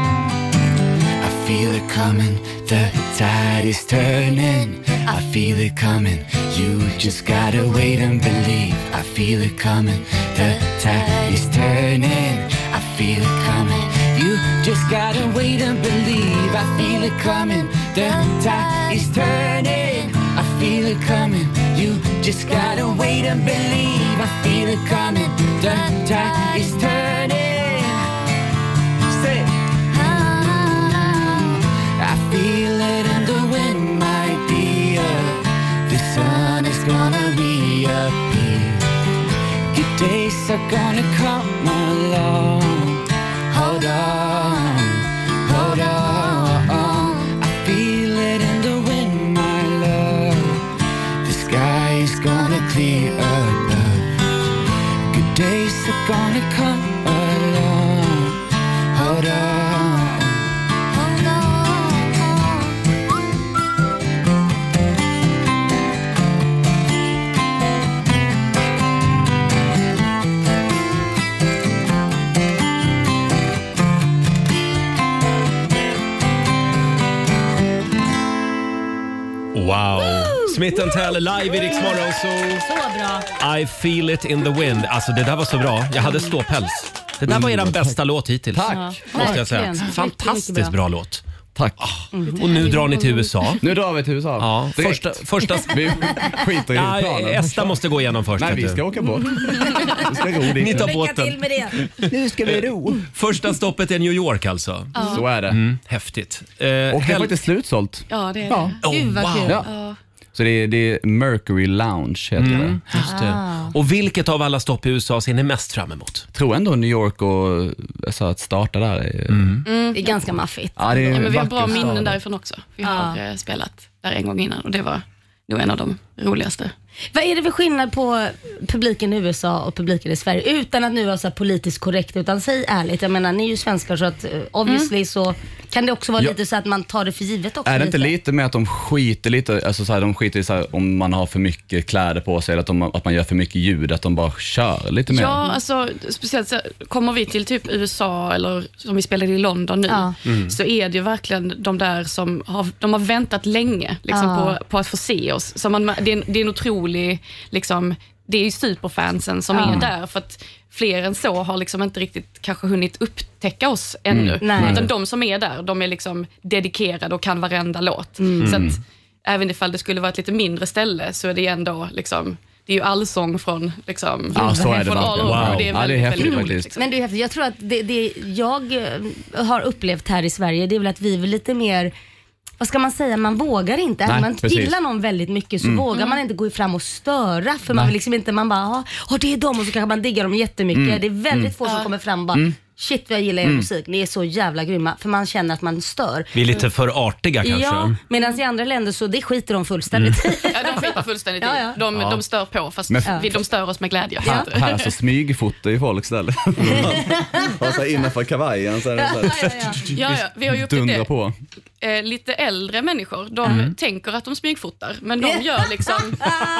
I feel it coming, the tide is turning. I feel it coming, you just gotta wait and believe. I feel it coming, the tide is turning. I feel it coming, you just gotta wait and believe. I feel it coming, the tide is turning. I feel it coming, you just gotta wait and believe. I feel it coming, the tide is turning. Say it. I feel it in the wind, my dear. The sun is gonna reappear. Good days are gonna come along. Hold on, hold on. I feel it in the wind, my love. The sky is gonna clear above. Good days are gonna come along. Hold on. Wow! Smith Tell live i Rix Morgonzoo. Så bra. I feel it in the wind. Alltså det där var så bra. Jag hade Mm. ståpäls. Det där var er bästa låt hittills. Tack. Måste jag säga. Verkligen. Mycket, mycket Fantastiskt bra. bra låt. Ah. Tack. Mm. Och nu drar ni till USA. Nu drar vi till USA. Ja, Direkt. första... första... Vi skiter i Ja, planen. Esta måste gå igenom först. Nej, vet vi du. ska åka bort. Vi ska ro dit. Ni Lycka tar till båten. med det. Nu ska vi ro. Första stoppet är New York alltså. Ja. Så är det. Mm, häftigt. Eh, Och det är hel- faktiskt slutsålt. Ja, det är Ja. det. Gud vad Oh, wow. kul. Ja. Ja. Så det är, det är Mercury Lounge heter Mm, det. just Ah. det. Och vilket av alla stopp i USA ser ni mest fram emot? Tror ändå New York och alltså, att starta där. Är, Mm. Det är ganska maffigt. Ja, det är en Ja, men vi har vacker bra stad. minnen därifrån också. Vi har eh, spelat där en gång innan och det var nog en av de roligaste. Vad är det för skillnad på publiken i USA och publiken i Sverige? Utan att nu vara så här politiskt korrekt, utan säg ärligt. Jag menar, ni är ju svenskar så att eh, obviously så kan det också vara Ja. lite så att man tar det för givet också. Är det inte lite med att de skiter lite, alltså så här, de skiter i så här, om man har för mycket kläder på sig eller att, de, att man gör för mycket ljud, att de bara kör lite mer? Ja, alltså speciellt så kommer vi till typ USA eller som vi spelade i London nu, Ja. Mm. så är det ju verkligen de där som har, de har väntat länge liksom, Ja. på, på att få se oss. Så man, det, är en, det är en otrolig, liksom, det är ju superfansen som Ja. är där för att fler än så har liksom inte riktigt kanske hunnit upptäcka oss ännu. Mm. Nej. Utan de som är där, de är liksom dedikerade och kan varenda låt. Mm. Så Mm. att, även ifall det skulle vara ett lite mindre ställe så är det ändå liksom, det är ju allsång från liksom, Ja, så är det från all verkligen. over. Wow. Det är Ja, det är väldigt, häftigt väldigt roligt. faktiskt. liksom. Men du är häftigt. Jag tror att det, det jag eh, har upplevt här i Sverige, det är väl att vi är väl lite mer vad ska man säga, man vågar inte. Nej, Även om man precis. gillar någon väldigt mycket så Mm. vågar man inte gå fram och störa för man Nej. vill liksom inte, man bara, "Ja, ja det är dem och så kanske man diggar dem jättemycket. Mm. Det är väldigt Mm. få som Ja. kommer fram och bara, Mm. shit vad jag gillar er Mm. musik, ni är så jävla grymma. För man känner att man stör. Mm. Vi är lite för artiga kanske. Ja, medan i andra länder så det skiter de fullständigt i. Ja, de skiter fullständigt Ja, i. ja. De, Ja. de stör på, fast Men- vi, de stör oss med glädje. Här, här så smygfotar ju folk istället. Och så här innanför kavajen så är det så här, Ja, ja, vi har ju upptäckt dundrar det. på. eh, lite äldre människor, de Mm. tänker att de smygfotar, men de gör liksom...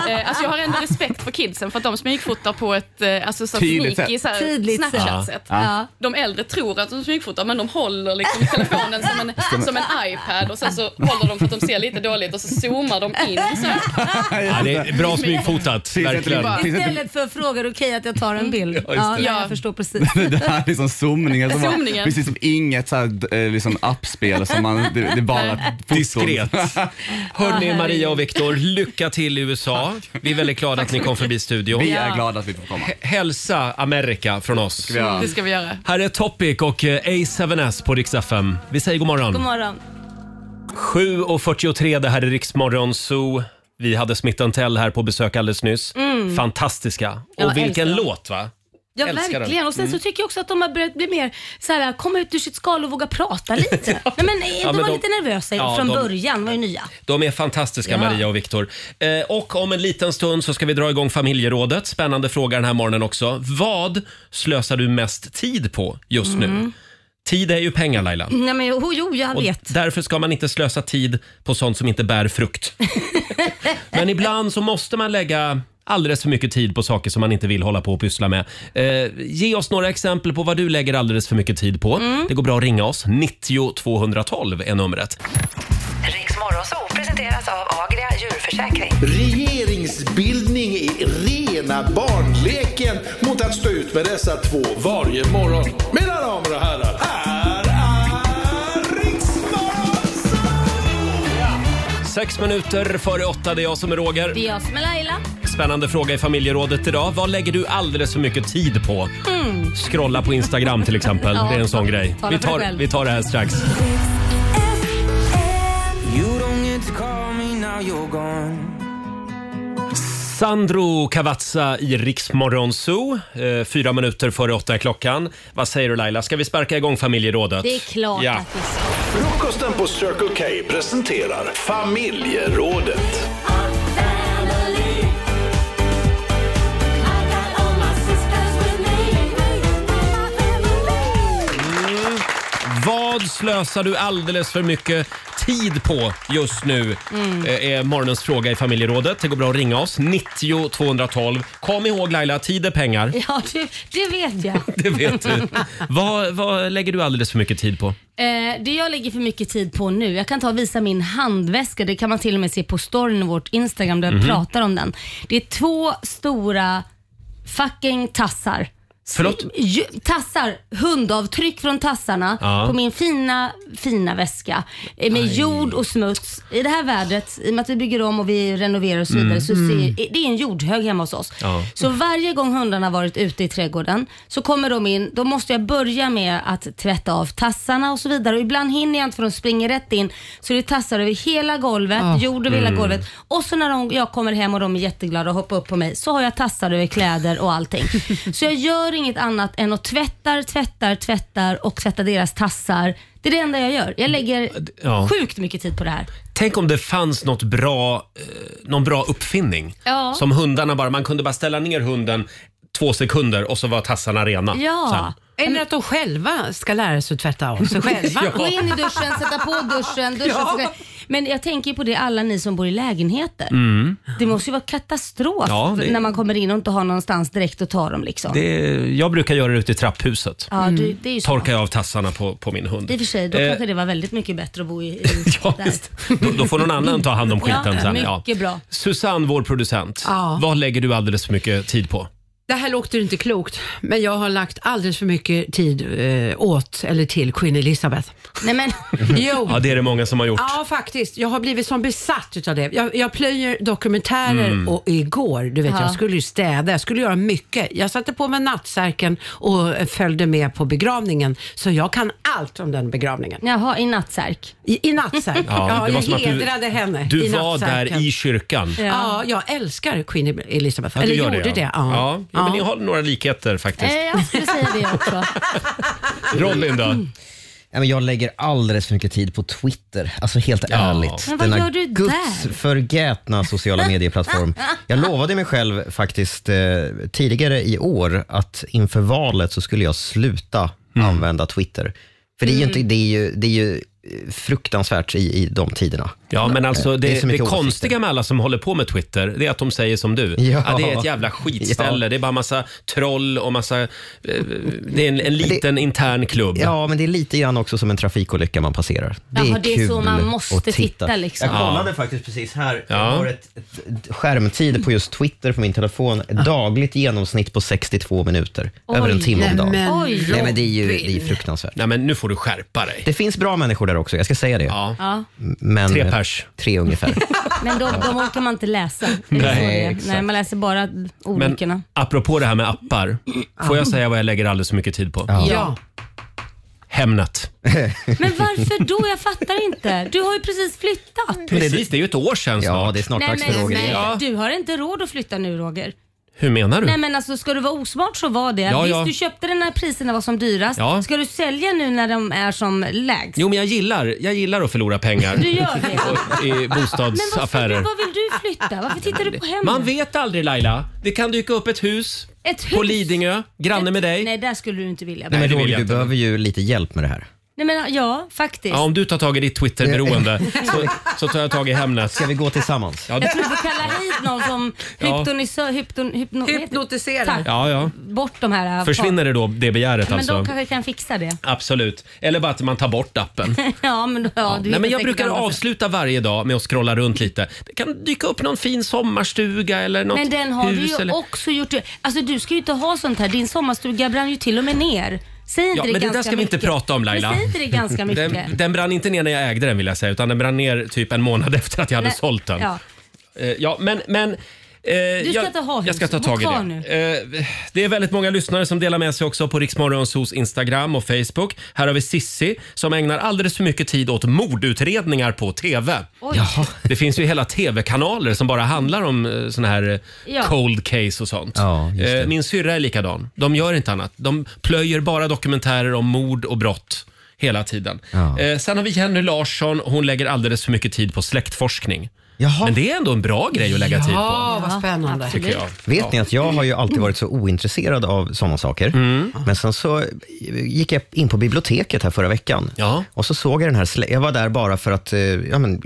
Eh, alltså jag har ändå respekt för kidsen för att de smygfotar på ett eh, alltså, så Tydligt sneaky, sätt. så här, Tydligt sätt. Snapchat sätt. Ja. Ja. De äldre tror att de smygfotar, men de håller liksom telefonen som en, som en iPad och sen så håller de för att de ser lite dåligt och så zoomar de in. Så här. Ja, det är bra smygfotat, verkligen. Istället för att fråga, är det okej att jag tar en bild? Ja, Ja, just det. jag förstår precis. Det där är liksom zoomningen. Som Zoomningen. Var, precis som inget så här, d- eh, liksom appspel. Som man, det, det är bara foton. Diskret. Hörni, Maria och Viktor, lycka till i USA. Vi är väldigt glada att ni kom förbi studion. Vi är glada att vi får komma. H- Hälsa Amerika från oss. Det ska vi göra. Här är Topic och eh, A7S på Rix FM. Vi säger god morgon. God morgon. 7.43, det här är Riksmorgon Zoo. Vi hade Smith Tell här på besök alldeles nyss. Mm. Fantastiska. Jag Och älskar vilken dem. låt va? Ja, Älskar den. verkligen. Och sen så Mm. tycker jag också att de har börjat bli mer så här, komma ut ur sitt skal och våga prata lite. Nej, men, eh, Ja, de men var de- lite nervösa Ja, från de- början, var ju nya. De är fantastiska, Ja. Maria och Viktor. Eh, och om en liten stund så ska vi dra igång familjerådet. Spännande fråga den här morgonen också. Vad slösar du mest tid på just nu? Mm. Tid är ju pengar, Laila. Nej, men, jo, jo, jag Och vet. därför ska man inte slösa tid på sånt som inte bär frukt. Men ibland så måste man lägga alldeles för mycket tid på saker som man inte vill hålla på och pyssla med. Eh, ge oss några exempel på vad du lägger alldeles för mycket tid på. Mm. Det går bra att ringa oss. 90 212 är numret. Riks Morgonzoo presenteras av Agria djurförsäkring. Regeringsbildning är rena barnleken mot att stå ut med dessa två varje morgon. Mina damer och herrar, här är Riksmorgon! Sex minuter före åtta, det är jag som är Roger. Det är jag som är Laila. Spännande fråga i familjerådet idag. Vad lägger du alldeles för mycket tid på? Mm. Scrolla på Instagram till exempel. Ja. Det är en sån grej. Tala Vi för dig tar, själv. vi tar det här strax. Sandro Cavazza i Riksmorgon Zoo. Eh, fyra minuter före åtta är klockan. Vad säger du Laila, ska vi sparka igång familjerådet? Det är klart Ja. att vi ska. Frukosten på Circle K presenterar Familjerådet. Vad slösar du alldeles för mycket tid på just nu? Mm. Eh, Är morgonens fråga i familjerådet. Det går bra att ringa oss. 90 212. Kom ihåg Laila, tid är pengar. Ja, det, det vet jag. Det vet du. vad, vad lägger du alldeles för mycket tid på? Eh, det jag lägger för mycket tid på nu, jag kan ta och visa min handväska. Det kan man till och med se på storyn i vårt Instagram där jag Mhm. pratar om den. Det är två stora fucking tassar. Förlåt? Ju- Tassar, hundavtryck från tassarna Ja. på min fina, fina väska. Eh, Med Aj. jord och smuts. I det här vädret, i och med att vi bygger om och vi renoverar och så vidare, Mm. så Mm. ser, det är en jordhög hemma hos oss. Ja. Så varje gång hundarna har varit ute i trädgården så kommer de in. Då måste jag börja med att tvätta av tassarna och så vidare. Och ibland hinner jag inte för de springer rätt in. Så det är tassar över hela golvet, Ah. jord över hela Mm. golvet. Och så när de, jag kommer hem och de är jätteglada och hoppar upp på mig så har jag tassar över kläder och allting. så jag gör inget annat än att tvättar, tvättar, tvättar och tvättar deras tassar. Det är det enda jag gör. Jag lägger Ja. sjukt mycket tid på det här. Tänk om det fanns något bra, eh, någon bra uppfinning. Ja. Som hundarna bara, man kunde bara ställa ner hunden två sekunder och så var tassarna rena. Sen. Eller att de själva ska lära sig att tvätta av sig själva. Gå in i duschen, sätta på duschen, duscha Ja. sig själv. Men jag tänker på det alla ni som bor i lägenheter. Mm. Det måste ju vara katastrof Ja, det- när man kommer in och inte har någonstans direkt att ta dem. Liksom. Det, jag brukar göra det ute i trapphuset. Ja, Mm. det- det är ju smart. Torkar jag av tassarna på, på min hund. I och för sig, då Eh, kanske det var väldigt mycket bättre att bo i, i där. Då, då får någon annan ta hand om skiten ja, sen. Ja. Mycket bra. Susanne, vår producent. Ja. Vad lägger du alldeles för mycket tid på? Det här låter inte klokt, men jag har lagt alldeles för mycket tid eh, åt eller till Queen Elizabeth. Nej, men... jo. Ja, det är det många som har gjort. Ja, faktiskt. Jag har blivit som besatt utav det. Jag, jag plöjer dokumentärer Mm. och igår, du vet, Ja. jag skulle ju städa, jag skulle göra mycket. Jag satte på mig nattsärken och eh, följde med på begravningen, så jag kan allt om den begravningen. Jaha, i nattsärk? I, i nattsärk. Ja, det Ja, var jag som att du- hedrade henne Du i var nattsärken. där i kyrkan. Ja. jag älskar Queen Elizabeth. Ja, du Eller gör gjorde det. ja. Ja. Ja. Ja, men Ja. ni har några likheter faktiskt. Eh, jag skulle säga det också. Robin då? Ja, men jag lägger alldeles för mycket tid på Twitter, alltså helt ärligt. Men vad Denna gör du där? gudsförgätna sociala medieplattform. Jag lovade mig själv faktiskt eh, tidigare i år att Mm. inför valet så skulle jag sluta använda Twitter. För det är ju, inte, det är ju, det är ju eh, fruktansvärt i, i de tiderna. Ja, men alltså Eh, det, så det, mycket åsikter. konstiga med alla som håller på med Twitter, det är att de säger som du. Ja. Ja, det är ett jävla skitställe. Det är bara massa troll och massa... eh, Det är en, en liten intern klubb. Ja, men det är lite grann också som en trafikolycka man passerar. Det Jaha, är, det är kul så man måste att titta, liksom. Jag kollade Ja. faktiskt precis här. Ja. Jag har ett, ett skärmtid på just Twitter på min telefon. Dagligt genomsnitt på 62 minuter. Oj, över en timme om dagen. nej men nej, men det är ju Robin. det är fruktansvärt. Nej, men nu får du skärpa dig. Det finns bra människor där också, jag ska säga det. Ja. Men, Tre pers. Tre ungefär. Men de, de orkar man inte läsa. Är det så Nej, det är? exakt. Nej, man läser bara Men olyckorna. apropå det här med appar, får jag Ja. säga vad jag lägger alldeles för mycket tid på? Ja. Hemnet. Men varför då? Jag fattar inte. Du har ju precis flyttat. Precis, det är ju ett år sedan snart. Ja, det är snart Nej, men, nej, Ja. Du har inte råd att flytta nu Roger. Hur menar du? Nej men alltså ska du vara osmart så var det. Ja, Visst ja. du köpte den när priserna var som dyrast. Ja. Ska du sälja nu när de är som lägst? Jo, men jag gillar, jag gillar att förlora pengar Du gör det. Och- i bostadsaffärer. Men vad vill du flytta? Varför tittar du på hemmet? Man vet aldrig Laila. Det kan dyka upp ett hus, Ett på hus? Lidingö, granne med dig. Nej där skulle du inte vilja vara. nej, men det vill Roger, jag du inte. behöver ju lite hjälp med det här. Nej men ja, faktiskt. Ja, om du tar tag i ditt Twitterberoende så, Ja. så tar jag tag i Hemnet. Ska vi gå tillsammans? Ja, Jag tror du får kalla hit någon som Ja. hypnotisör, hypno, hypno, hypnotiserar. Tack. ja, ja. Bort de här. äh, Försvinner det då, det begäret Men alltså? de kanske kan fixa det. Absolut. Eller bara att man tar bort appen. ja, men då, ja, du Nej, hittar men jag säkert brukar andra sätt. avsluta varje dag med att scrolla runt lite. Det kan dyka upp någon fin sommarstuga eller något Men den har du hus. ju eller... också gjort. Alltså du ska ju inte ha sånt här. Din sommarstuga brann ju till och med ner. Säg inte Ja, det men det ganska där ska vi mycket. inte prata om Laila. Men säg inte det ganska mycket. Den, den brann inte ner när jag ägde den vill jag säga, utan den brann ner typ en månad efter att jag hade Nej, sålt den. Ja. Eh, ja men... men eh, ska jag, inte ha hus. jag ska ta Bo tag i kvar det. Eh, det är väldigt många lyssnare som delar med sig också på Riksmorgonsos Instagram och Facebook. Här har vi Sissi som ägnar alldeles för mycket tid åt mordutredningar på TV. Oj. Det finns ju hela TV-kanaler som bara handlar om eh, såna här eh, Ja. cold case och sånt. Eh, Min syrra är likadan. De gör inte annat. De plöjer bara dokumentärer om mord och brott hela tiden. Eh, Sen har vi Jenny Larsson. Hon lägger alldeles för mycket tid på släktforskning. Men det är ändå en bra grej att lägga tid på. Ja, vad spännande. Tycker jag. Vet Ja. ni att jag har ju alltid varit så ointresserad av sådana saker. Mm. Men sen så gick jag in på biblioteket här förra veckan. Och så såg jag den här, slä- jag var där bara för att, eh, ja men,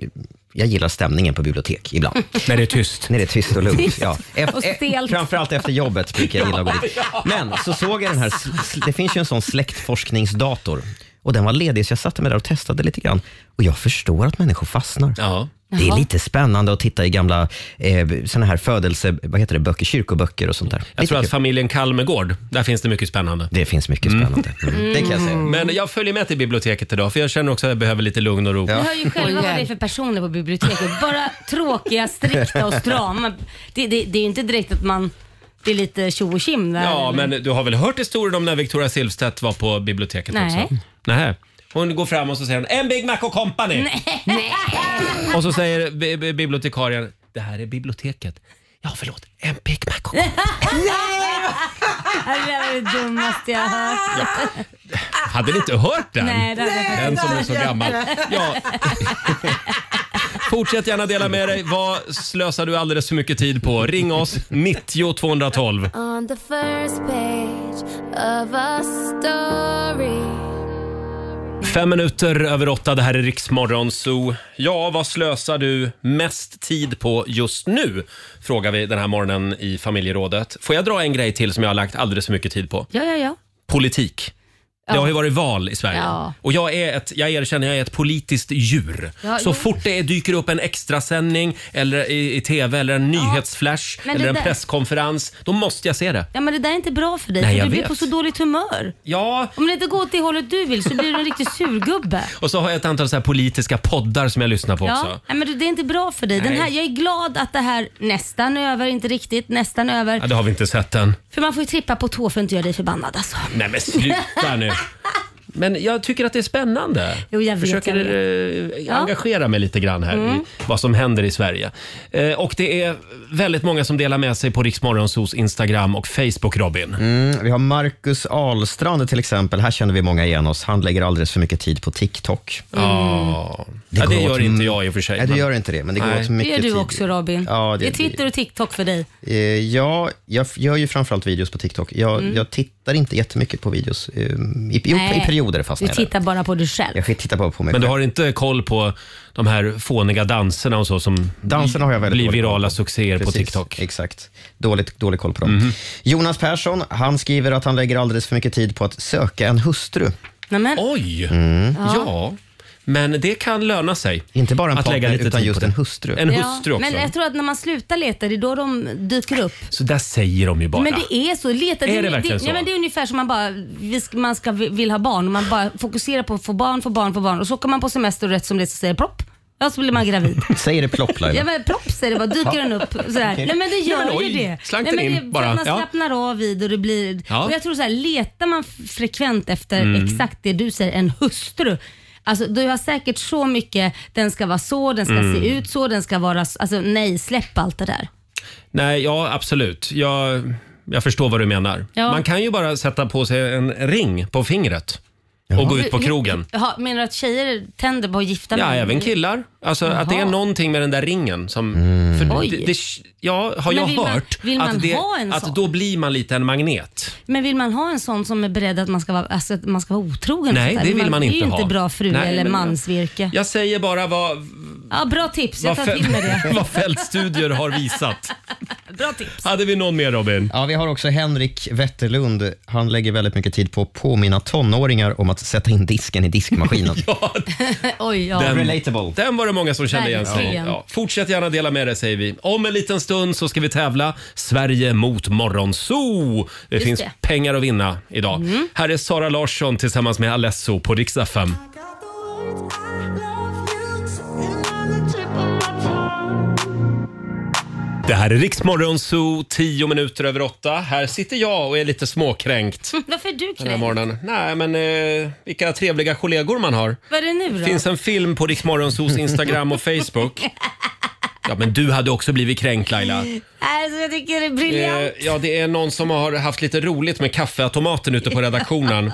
jag gillar stämningen på bibliotek ibland. När det är tyst. När det är tyst och lugnt. Tyst Ja. och stelt. framförallt efter jobbet brukar jag gilla att gå dit. Ja. Men så såg jag den här, sl- sl- Ah. det finns ju en sån släktforskningsdator. Och den var ledig så jag satte mig där och testade lite grann. Och jag förstår att människor fastnar. Det är Jaha. lite spännande att titta i gamla eh, såna här födelse, vad heter det, böcker, kyrkoböcker och sånt där. Jag tror att familjen Kalmegård, där finns det mycket spännande. Det finns mycket spännande. Mm. Mm. Det kan jag säga. Men jag följer med till biblioteket idag för jag känner också att jag behöver lite lugn och ro. Ni hör ju själva vad det är för personer på biblioteket. Bara tråkiga, strikta och strama. Det, det, det är ju inte direkt att man blir lite tjo och tjim där. Ja, eller? men du har väl hört historien om när Victoria Silvstedt var på biblioteket Nej. också? Nej. Hon går fram och så säger hon “En Big Mac och Company” Nej. och så säger bi- bi- bibliotekarien “Det här är biblioteket”. Ja, förlåt. En Big Mac och Nej! Det där är det dummaste jag har hört. Hade ni inte hört den? Nej, det hade jag inte. den som är så gammal. Ja. Fortsätt gärna dela med dig. Vad slösar du alldeles för mycket tid på? Ring oss, 90 212. On the first page of a story. Fem minuter över åtta, det här är Riksmorgon Zoo. Ja, vad slösar du mest tid på just nu? Frågar vi den här morgonen i familjerådet. Får jag dra en grej till som jag har lagt alldeles för mycket tid på? Ja, ja, ja. Politik. Det Ja. har ju varit val i Sverige. Ja. Och jag, är ett, jag erkänner, jag är ett politiskt djur. Ja, så jo. fort det är- dyker upp en extrasändning eller i, i TV eller en nyhetsflash Men eller det en där- presskonferens, då måste jag se det. Ja, men det där är inte bra för dig. Nej, för jag du blir vet. på så dåligt humör. Ja. Om det inte går åt det hållet du vill så blir du en riktig surgubbe. Och så har jag ett antal så här politiska poddar som jag lyssnar på också. Ja, nej, men du, det är inte bra för dig. Den Nej. här, jag är glad att det här nästan är över, inte riktigt, nästan är över. Ja, det har vi inte sett än. För man får ju trippa på tå för att inte göra dig förbannad alltså. Nej men sluta nu. Men jag tycker att det är spännande. Jo, jag vet, Försöker jag eh, Ja. engagera mig lite grann här Mm. i vad som händer i Sverige. Eh, och det är väldigt många som delar med sig på Riksmorgonsos Instagram och Facebook, Robin. Mm, vi har Marcus Ahlstrand till exempel. Här känner vi många igen oss. Han lägger alldeles för mycket tid på TikTok. Ja, Ja, det går gör åt- inte jag i och för sig. Nej, du men- gör inte det, men det går Nej. åt Det mycket gör du tid. också Robin. Ja, det, det- är Twitter och TikTok för dig. Eh, ja, jag f- gör ju framförallt videos på TikTok. Jag, Mm. jag tittar inte jättemycket på videos. Eh, i, jo, Nej. i perioder Du fastnade jag tittar bara på dig själv. Jag fick titta på, på mig Men du har inte koll på de här fåniga danserna och så som Danserna har jag väldigt blir dålig koll virala på. succéer på Precis, TikTok. Exakt. Dåligt, dålig koll på dem. Mhm. Jonas Persson, han skriver att han lägger alldeles för mycket tid på att söka en hustru. Nämen. Oj! Mm. Ja. men det kan löna sig. Inte bara en Att lägga partner, lite utan tid på just det. en hustru. En Ja, hustru också. Men jag tror att när man slutar leta, det är då de dyker upp. Så där säger de ju bara. Men det är så. Leta, Är det verkligen så? Ja, men det är ungefär som man bara vi ska, man ska, vill ha barn och man bara fokuserar på att få barn, få barn, få barn och så åker man på semester och rätt som det är så säger det plopp. Ja, så blir man gravid. Säger det plopp Laila? Ja, men plopp säger det bara, dyker Ja. den upp. Sådär. Okej. Nej men det gör Nej, men ju oj, det. slank Nej, men den in det är för bara. Att man Ja. slappnar av vid och det blir... Ja. Och jag tror så här, letar man f- frekvent efter Mm. exakt det du säger, en hustru. Alltså, du har säkert så mycket, den ska vara så, den ska Mm. se ut så, den ska vara... s- Alltså nej, släpp allt det där. Nej, ja absolut. Jag, jag förstår vad du menar. Ja. Man kan ju bara sätta på sig en ring på fingret och gå ut på Nu- nu- krogen. Jaha, menar du att tjejer tänder på att gifta Ja, män? även killar. Alltså att det är Jaha. Mm. någonting med den där ringen som... För Oj. det, det, ja, har Men jag vill man- hört. vill man att det, ha en sån? att då blir man lite en magnet. Men vill man ha en sån som är beredd att man ska vara, alltså, att man ska vara otrogen? och Nej, sådär? det vill man inte Det är ju ha. inte bra fru Nej, eller men- mansvirke. Jag säger bara vad, Ja, bra tips. Jag vad, tar till mig det. vad fältstudier har visat. Bra tips. Hade vi någon mer Robin? Ja, vi har också Henrik Wetterlund. Han lägger väldigt mycket tid på att påminna tonåringar om att sätta in disken i diskmaskinen. Oj, ja. den var det många som kände igen sig i. Verkligen. ja. Fortsätt gärna dela med dig säger vi. Om en liten stund så ska vi tävla Sverige mot Morgonzoo. Det Just finns det. Mm. pengar att vinna idag. Här är Sara Larsson tillsammans med Alesso på riksdag 5. Det här är Riksmorgonzoo, 10 minuter över åtta. Här sitter jag och är lite småkränkt Varför är du den här kränkt? morgonen. Nej, men eh, vilka trevliga kollegor man har. Vad är det nu Det då? finns en film på Riksmorgonsos Instagram och Facebook. Ja, men du hade också blivit kränkt Laila. Alltså, jag tycker det är briljant. Eh, ja, det är någon som har haft lite roligt med kaffeautomaten ute på redaktionen.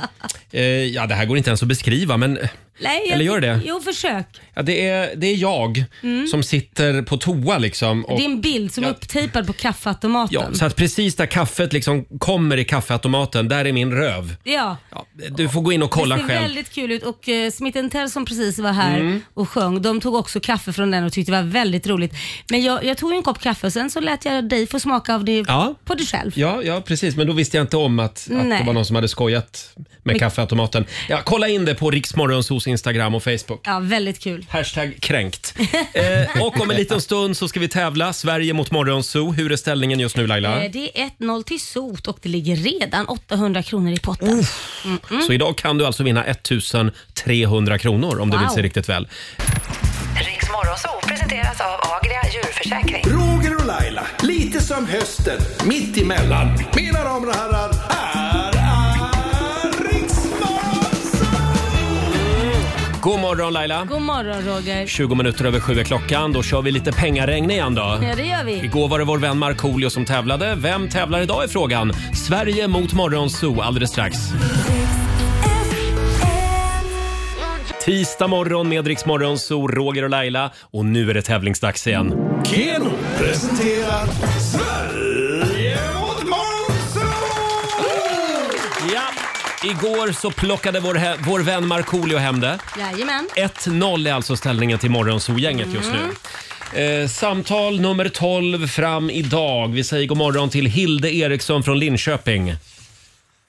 Eh, ja, det här går inte ens att beskriva, men... Nej, jag eller gör tycker- det? Jo, försök. Ja, det, är, det är jag Mm. som sitter på toa liksom. Och, Det är en bild som är upptejpad på kaffeautomaten. ja, så att precis där kaffet liksom kommer i kaffeautomaten, där är min röv. Ja. Du får gå in och kolla det ser själv. väldigt kul ut och uh, Smith Tell som precis var här Mm. och sjöng, de tog också kaffe från den och tyckte det var väldigt roligt. Men jag, jag tog ju en kopp kaffe och sen så lät jag dig få smaka av det Ja. på dig själv. Ja, ja, precis. Men då visste jag inte om att, att det Nej. var någon som hade skojat med Men- kaffeautomaten. Ja, kolla in det på Riksmorgonsos Instagram och Facebook. Ja, väldigt kul. Hashtag kränkt. Eh, och om en liten stund så ska vi tävla. Sverige mot Morgonzoo. Hur är ställningen just nu Laila? Eh, Det är 1-0 till Sot och det ligger redan 800 kronor i potten. Mm-mm. Så idag kan du alltså vinna 1300 kronor om du Wow. vill se riktigt väl. Riks Morgonzoo presenteras av Agria djurförsäkring. Roger och Laila, lite som hösten, mitt emellan. Mina damer och herrar, här är God morgon Laila! God morgon Roger. 20 minuter över sju är klockan. Då kör vi lite pengaregn igen då. Ja, det gör vi. Igår var det vår vän Markoolio som tävlade. Vem tävlar idag i frågan? Sverige mot Morgonzoo alldeles strax. Tisdag morgon med Rix Morgonzoo, Roger och Laila. Och nu är det tävlingsdags igen. Keno presenterar Sverige mot Ja, igår så plockade vår, he- vår vän Markoolio hem det. Jajamän. 1-0 är alltså ställningen till Morgonzoo-gänget just nu. Eh, samtal nummer 12 fram idag. Vi säger god morgon till Hilde Eriksson från Linköping.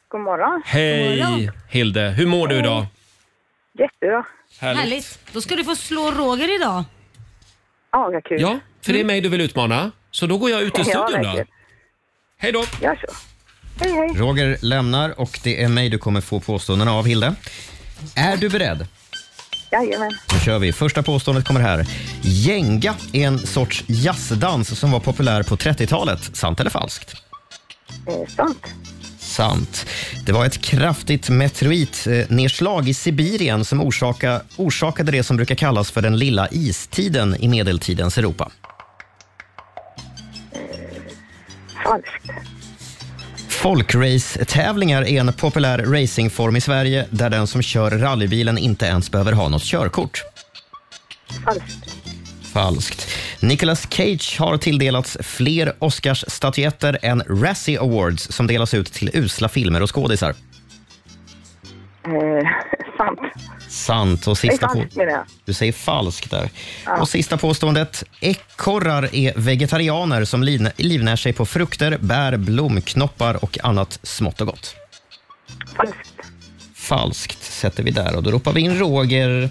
God morgon. Hej Hilde, hur mår du idag? Jättebra. Härligt. Då ska du få slå Roger idag. Ja, vad kul. Ja, för det Mm. är mig du vill utmana. Så då går jag ut ur studion då. Hej då! Gör så. Hej, hej. Roger lämnar och det är mig du kommer få påståendena av, Hilde. Är du beredd? Jajamän. Då kör vi. Första påståendet kommer här. Jenga är en sorts jazzdans som var populär på 30-talet. Sant eller falskt? Eh, sant. Sant. Det var ett kraftigt meteoritnedslag i Sibirien som orsaka, orsakade det som brukar kallas för den lilla istiden i medeltidens Europa. Eh, Falskt. Folkrace-tävlingar är en populär racingform i Sverige där den som kör rallybilen inte ens behöver ha något körkort. Falskt. Falskt. Nicolas Cage har tilldelats fler Oscarsstatyetter än Razzie Awards som delas ut till usla filmer och skådisar. Eh, sant. Sant. Och Nej, sista på... falskt menar jag. Du säger falskt där. Ja. Och sista påståendet. Ekorrar är vegetarianer som lin- livnär sig på frukter, bär, blomknoppar och annat smått och gott. Falskt. Falskt sätter vi där och då ropar vi in Roger.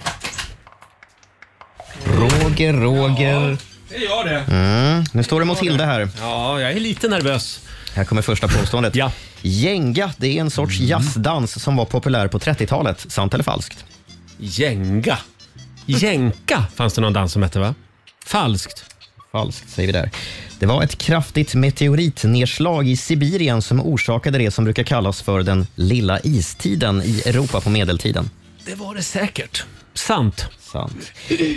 Roger, Roger. Det gör det. Mm. Nu står det mot Hilde här. Ja, jag är lite nervös. Här kommer första påståendet. ja. Gänga, det är en sorts Mm. jazzdans som var populär på 30-talet. Sant eller falskt? Gänga? Jänka fanns det någon dans som hette, va? Falskt. Falskt säger vi där. Det var ett kraftigt meteoritnedslag i Sibirien som orsakade det som brukar kallas för den lilla istiden i Europa på medeltiden. Det var det säkert. Sant. Sant.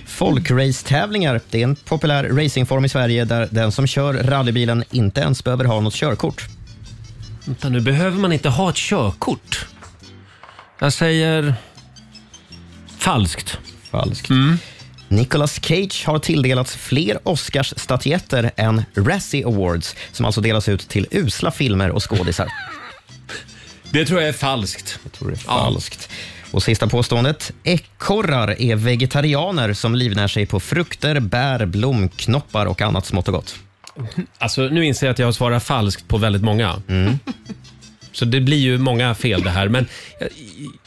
Folkracetävlingar, det är en populär racingform i Sverige där den som kör rallybilen inte ens behöver ha något körkort. Vänta, nu behöver man inte ha ett körkort. Jag säger... Falskt. Mm. Falskt. Nicolas Cage har tilldelats fler Oscarsstatyetter än Razzie Awards som alltså delas ut till usla filmer och skådisar. Det tror jag är falskt. Jag tror det är falskt. Och sista påståendet. Ekorrar är vegetarianer som livnär sig på frukter, bär, blomknoppar och annat smått och gott. Alltså, nu inser jag att jag har svarat falskt på väldigt många. Mm. Så det blir ju många fel det här. Men jag,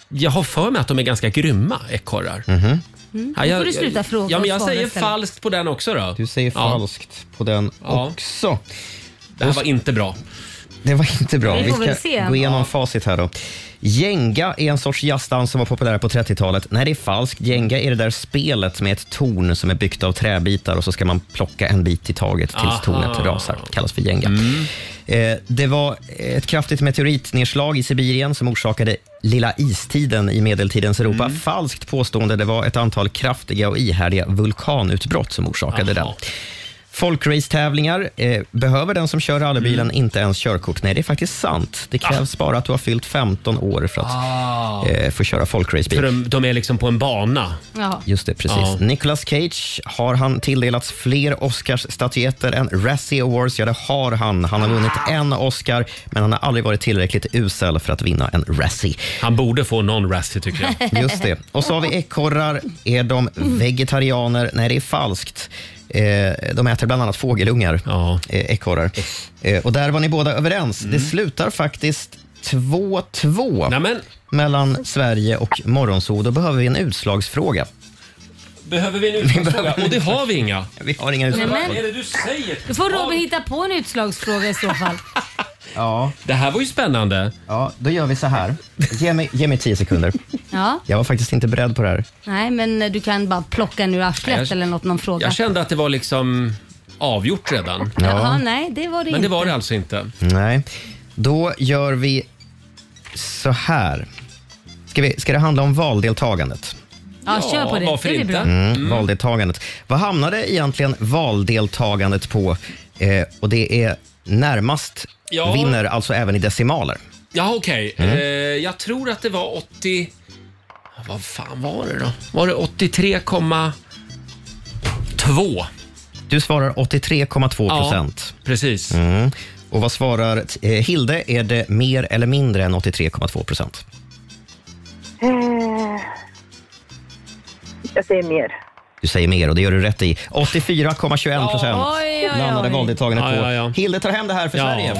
jag har för mig att de är ganska grymma ekorrar. Mhm. Mm. Ja, nu jag- får du sluta fråga Ja, men och jag svara säger istället. falskt på den också då. Du säger Ja. falskt på den Ja. också. Det här var inte bra. Det var inte bra. Vi Vi får väl ska se. gå Ja. igenom facit här då. Jenga är en sorts jazzdans som var populär på 30-talet. Nej, det är falskt. Jenga är det där spelet med ett torn som är byggt av träbitar och så ska man plocka en bit i taget tills Aha. tornet rasar. kallas för jenga. Mm. Eh, Det var ett kraftigt meteoritnedslag i Sibirien som orsakade lilla istiden i medeltidens Europa. Mm. Falskt påstående. Det var ett antal kraftiga och ihärdiga vulkanutbrott som orsakade den. Folkracetävlingar. Eh, behöver den som kör rallybilen Mm. inte ens körkort? Nej, det är faktiskt sant. Det krävs bara att du har fyllt 15 år för att Ah. eh, få köra folkracebil. För de, de är liksom på en bana. Ja. Just det, precis. Ja. Nicolas Cage, har han tilldelats fler Oscarsstatyetter än Razzie Awards? Ja, det har han. Han har vunnit en Oscar, men han har aldrig varit tillräckligt usel för att vinna en Razzie. Han borde få någon Razzie tycker jag. Just det. Och så har vi ekorrar. Är de vegetarianer? Nej, det är falskt. Eh, De äter bland annat fågelungar, ja. ekorrar. Eh, Och där var ni båda överens. Det Mm. slutar faktiskt 2-2 mellan Sverige och Morgonzoo. Då behöver vi en utslagsfråga. Behöver vi en utslagsfråga? Och det har vi inga. Vi har inga Nej, utslagsfrågor. men- du säger? Då får Robin hitta på en utslagsfråga i så fall. Ja. Det här var ju spännande. Ja, då gör vi så här. Ge mig, ge mig tio sekunder. Ja. Jag var faktiskt inte beredd på det här. Nej, men du kan bara plocka en ur arslet Jag- eller något, någon fråga. Jag kände att det var liksom avgjort redan. Jaha, nej, det var det Men det inte. var det alltså inte. Nej. Då gör vi så här. Ska, vi, ska det handla om valdeltagandet? Ja, Ja, kör på det. varför det är inte? Bra. Mm, Valdeltagandet. Vad hamnade egentligen valdeltagandet på? Eh, och det är närmast Ja. vinner, alltså även i decimaler. Ja, okej. Mm. Eh, jag tror att det var 80... Vad fan var det då? Var det 83,2? Du svarar 83,2 procent. precis. Mm. Och vad svarar eh, Hilde? Är det mer eller mindre än 83,2 procent? Eh, jag säger mer. Du säger mer och det gör du rätt i. 84,21 procent Oj, oj, oj. landade valdeltagandet Ja, på. ja, ja. Hilde tar hem det här för Ja. Sverige.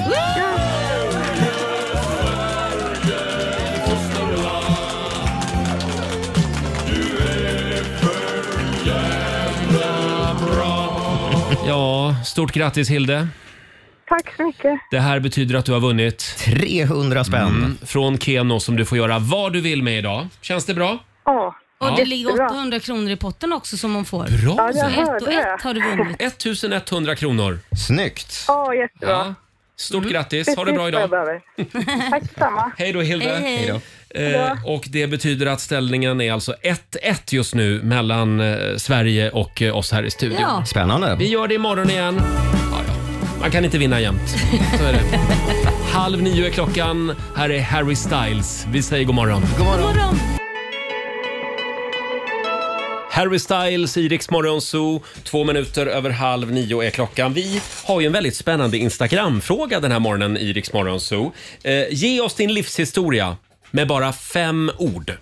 Ja, stort grattis Hilde. Tack så mycket. Det här betyder att du har vunnit Mm, 300 spänn. från Keno som du får göra vad du vill med idag. Känns det bra? Ja. Och Ja. det ligger 800 kronor i potten också som hon får. Bra. Ja, jag Så ett hörde och ett har du vunnit. 1100 kronor. Snyggt. Ja, jättebra. Ja. Stort grattis. Ha det bra idag. Tack detsamma. Hej då Hilde. Hej, hej. Hej Eh, och det betyder att ställningen är alltså 1-1 just nu mellan eh, Sverige och eh, oss här i studion. Ja. Spännande. Vi gör det imorgon igen. Ja, ja. Man kan inte vinna jämt. Så är det. Halv nio är klockan. Här är Harry Styles. Vi säger god morgon. God morgon. Harry Styles i Rix Morgon Zoo. Två minuter över halv nio är klockan. Vi har ju en väldigt spännande Instagram-fråga den här morgonen i Rix Morgon Zoo. Eh, ge oss din livshistoria. med bara fem ord.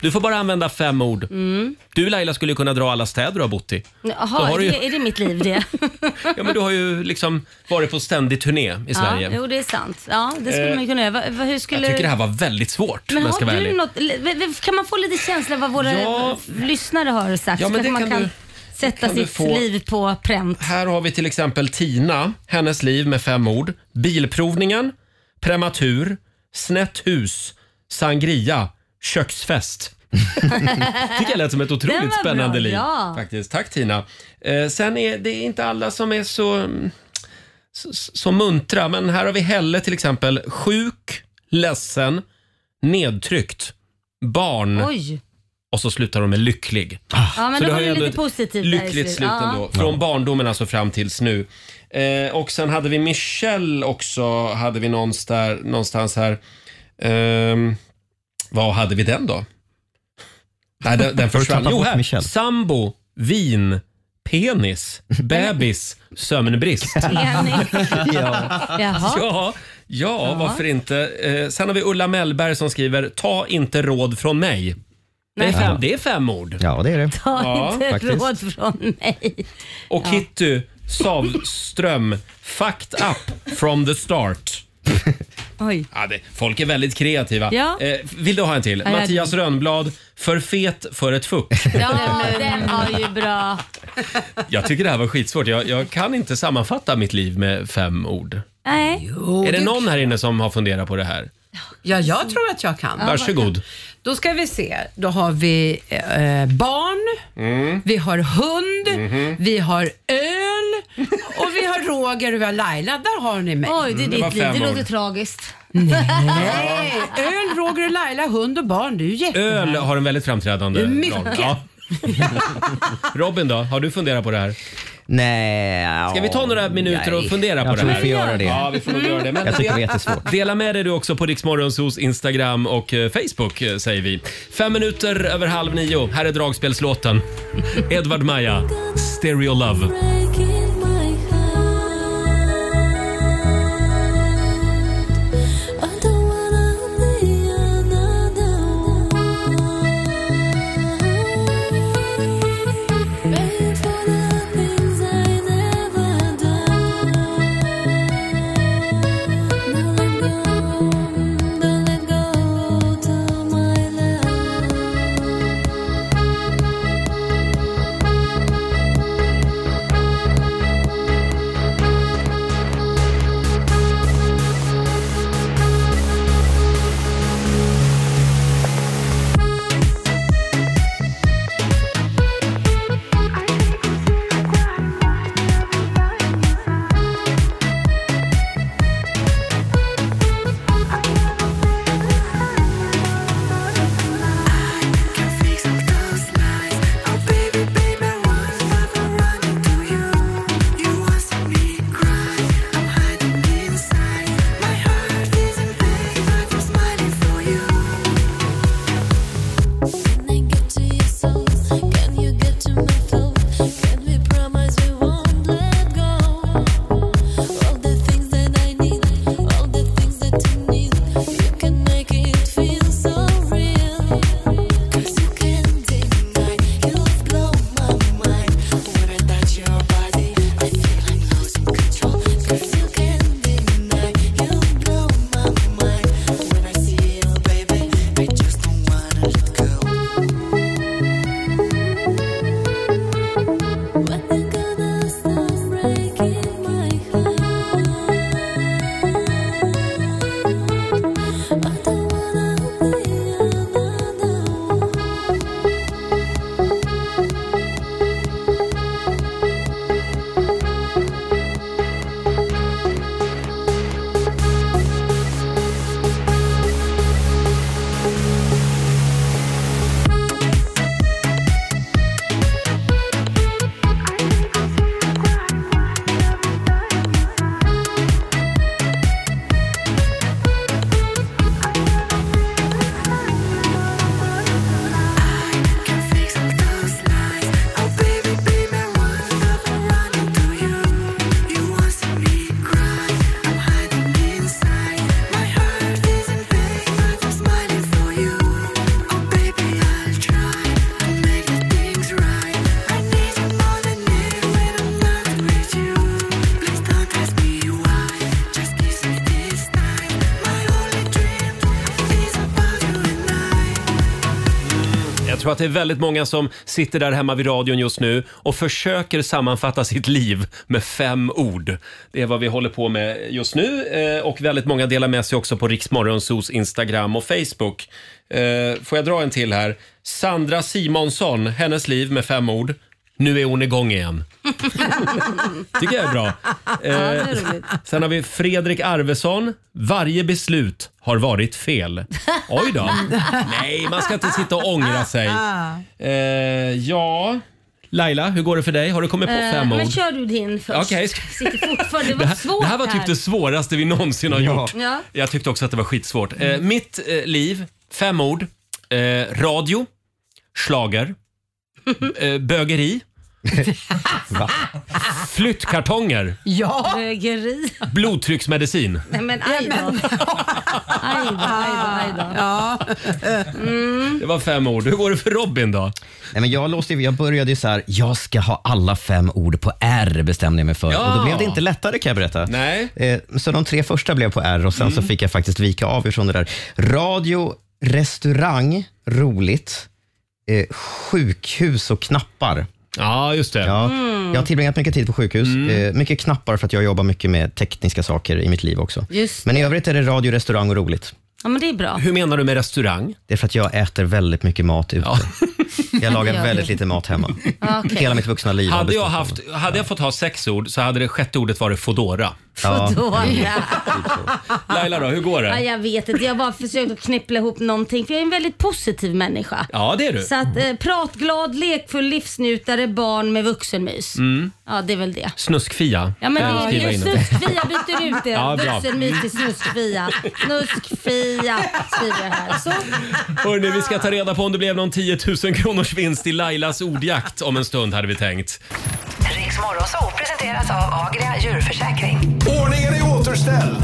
Du får bara använda fem ord. Mm. Du Laila skulle kunna dra alla städer du har bott i. Jaha, Då har är, du ju- det, är det mitt liv det? Ja, men du har ju liksom varit på ständig turné i Sverige. Ja, jo, det är sant. Ja, det skulle Eh, man kunna göra. Va- va- Hur skulle... Jag tycker det här var väldigt svårt men om jag har ska vara du ärlig. något, li- v- v- kan man få lite känsla vad våra Ja. f- lyssnare har sagt? Ja, så men det kanske man kan kan du- sätta kan du sitt få. liv på pränt. Här har vi till exempel Tina, hennes liv med fem ord. Bilprovningen, prematur, snett hus, sangria, köksfest. tycker jag lät som ett Den otroligt var spännande bra, liv. ja. Faktiskt. Tack Tina. Eh, sen är det inte alla som är så, mm, så, så muntra, men här har vi Helle till exempel. Sjuk, ledsen, nedtryckt, barn Oj. och så slutar de med lycklig. Ah. Ja, men Så då det var har ju det ändå lite ett positivt där i Lyckligt slut Ja. ändå. Från barndomen alltså fram tills nu. Eh, och sen hade vi Michelle också, hade vi någonstans, någonstans här. Ehm, vad hade vi den då? Nej, den, den Har du försvann. tappat Jo, bort här. Michelle? Sambo, vin, penis, bebis, sömnbrist. Enig. ja. Jaha. Ja, ja, varför inte? Eh, sen har vi Ulla Mellberg som skriver “Ta inte råd från mig”. Det är Nej. fem, det är fem ord. Ja, det är det. Ta inte faktiskt. råd från mig. Och Ja. Kitty Savström, “Fucked up from the start”. Oj. Ja, det, folk är väldigt kreativa. Ja. Eh, vill du ha en till? Ja, jag- Mattias Rönnblad, “För fet för ett fuck”. Ja, den var ju bra. Jag tycker det här var skitsvårt. Jag, jag kan inte sammanfatta mitt liv med fem ord. Nej. är det någon här inne som har funderat på det här? Ja, jag tror att jag kan. Varsågod. Då ska vi se. Då har vi eh, barn, Mm. vi har hund, Mhm. vi har öl och vi har Roger och vi har Laila. Där har ni mig. Oj, Mm, det är ditt liv. Det låter tragiskt. Nej, öl, Roger och Laila, hund och barn. Det är ju jättebra. Öl har en väldigt framträdande Det är mycket. roll. Ja. Robin då, har du funderat på det här? Nej. Ska vi ta några minuter och nej. fundera på jag det tror vi här? får göra det. Ja, vi får nog göra det. jag tycker det är jättesvårt. Dela med dig du också på Riksmorgonsos Instagram och eh, Facebook eh, säger vi. Fem minuter över halv nio. Här är dragspelslåten. Edvard Maja, Stereo Love. Thank you tror att det är väldigt många som sitter där hemma vid radion just nu och försöker sammanfatta sitt liv med fem ord. Det är vad vi håller på med just nu eh, och väldigt många delar med sig också på Riksmorgonsos Instagram och Facebook. Eh, Får jag dra en till här? Sandra Simonsson, hennes liv med fem ord. Nu är hon igång igen. tycker jag är bra. Eh, sen har vi Fredrik Arvesson. Varje beslut har varit fel. Oj då. Nej, man ska inte sitta och ångra sig. Eh, ja, Laila, hur går det för dig? Har du kommit på Eh, fem ord? Men kör du din först. Okej. Sitter fortfarande. Det var Det här, svårt det här var typ det svåraste vi någonsin har gjort. Ja. Mm. Jag tyckte också att det var skitsvårt. Eh, mitt eh, liv, fem ord. Eh, radio, schlager, eh, bögeri, flyttkartonger, Ja. Bögeri. blodtrycksmedicin. Nej men aj då. Aj då, aj då, aj då. Ja. Mm. Det var fem ord. Hur går det för Robin då? Nej, men jag, låste, ju- jag började ju så här, jag ska ha alla fem ord på R bestämde jag mig för. Ja. Och då blev det inte lättare kan jag berätta. Nej. Mm. Eh, så de tre första blev på R och sen så fick jag faktiskt vika av ifrån det där. Radio, restaurang, roligt, eh, sjukhus och knappar. Ja, just det. Mm. Ja, Mm. Jag har tillbringat mycket tid på sjukhus. Eh, mycket knappar för att jag jobbar mycket med tekniska saker i mitt liv också. Just Men i övrigt är det radio, restaurang och roligt. Ja men det är bra. Hur menar du med restaurang? Det är för att jag äter väldigt mycket mat ute. Jag Det gör lagar du. väldigt lite mat hemma. Okej. Hela mitt vuxna liv. har Hade jag, bestått av- haft, hade jag fått ha sex ord så hade det sjätte ordet varit fodora. Ja. Dåliga. Laila då, hur går Ja, det? jag vet inte, jag bara försökt att knippla ihop någonting för jag är en väldigt positiv människa. Ja, det är du. Så att eh, pratglad, lekfull, livsnjutare, barn med vuxenmys. Mm. Ja, det är väl det. Snuskfia. Ja men kan vi det skriva är ju in det. snuskfia, byter ut det. Ja, bra. Vuxenmys till snuskfia. Snuskfia skriver jag här. Så. Hörrni, vi ska ta reda på om det blev någon 10 000 kronors vinst i Lailas ordjakt om en stund hade vi tänkt. Riks Morgonzoo presenteras av Agria djurförsäkring. Ordningen är återställd.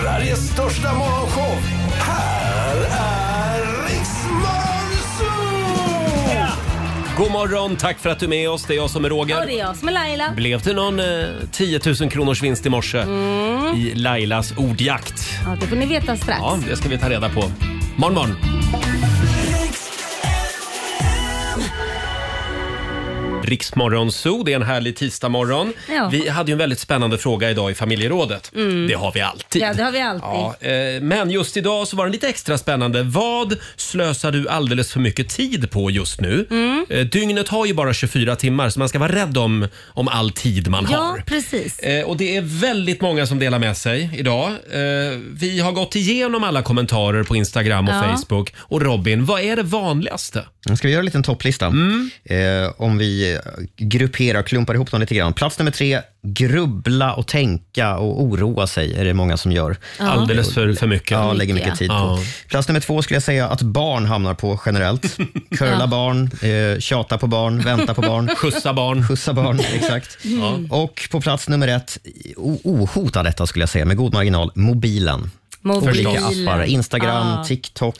Sveriges största morgonshow. Här är Riksmorgon God morgon, tack för att du är med oss. Det är jag som är Och det är Roger. jag som är Laila. Blev det någon eh, 10 000 kronors vinst i morse Mm. i Lailas ordjakt? Ja, det får ni veta strax. Ja, det ska vi ta reda på. Morgon, morgon. Riksmorgon Zoo, det är en härlig tisdagmorgon. Ja. Vi hade ju en väldigt spännande fråga idag i familjerådet. Mm. Det har vi alltid. Ja, det har vi alltid. Ja, eh, men just idag så var den lite extra spännande. Vad slösar du alldeles för mycket tid på just nu? Mm. Eh, Dygnet har ju bara 24 timmar så man ska vara rädd om, om all tid man Ja, har. precis. Eh, och det är väldigt många som delar med sig idag. Eh, vi har gått igenom alla kommentarer på Instagram och Ja. Facebook. Och Robin, vad är det vanligaste? Mm. Nu Ska vi göra en liten topplista? Eh, om vi eh, grupperar och klumpar ihop dem lite grann. Plats nummer tre, grubbla och tänka och oroa sig är det många som gör. Ja. Alldeles för, för mycket. Ja, lägger Mycket, mycket tid på. ja. Plats nummer två skulle jag säga att barn hamnar på generellt. Curla Ja. barn, eh, tjata på barn, vänta på barn. Skjutsa barn. Skjutsa barn, exakt. Mm. Och på plats nummer ett, o- ohotad detta skulle jag säga, med god marginal, mobilen. Mobilen. Olika appar, Instagram, Ja. TikTok,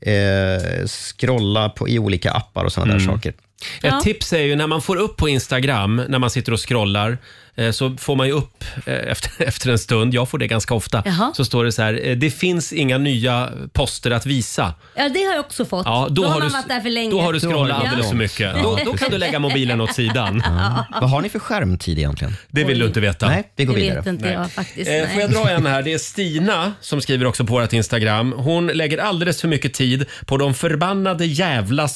eh, scrolla på, i olika appar och sådana Mm. där saker. Ett tips är ju när man får upp på Instagram, när man sitter och scrollar, eh, så får man ju upp eh, efter, efter en stund, jag får det ganska ofta, Jaha. så står det så här, eh, det finns inga nya poster att visa. Ja, det har jag också fått. Ja, då har man du- varit där för länge. Då har du scrollat alldeles för mycket. Ja. Då, då kan du lägga mobilen åt sidan. Vad har ni för skärmtid egentligen? Det vill du inte veta. Nej, vi går Det vidare. vet inte jag faktiskt. Eh, nej. får jag dra en här? Det är Stina som skriver också på vårt Instagram. Hon lägger alldeles för mycket tid på de förbannade jävla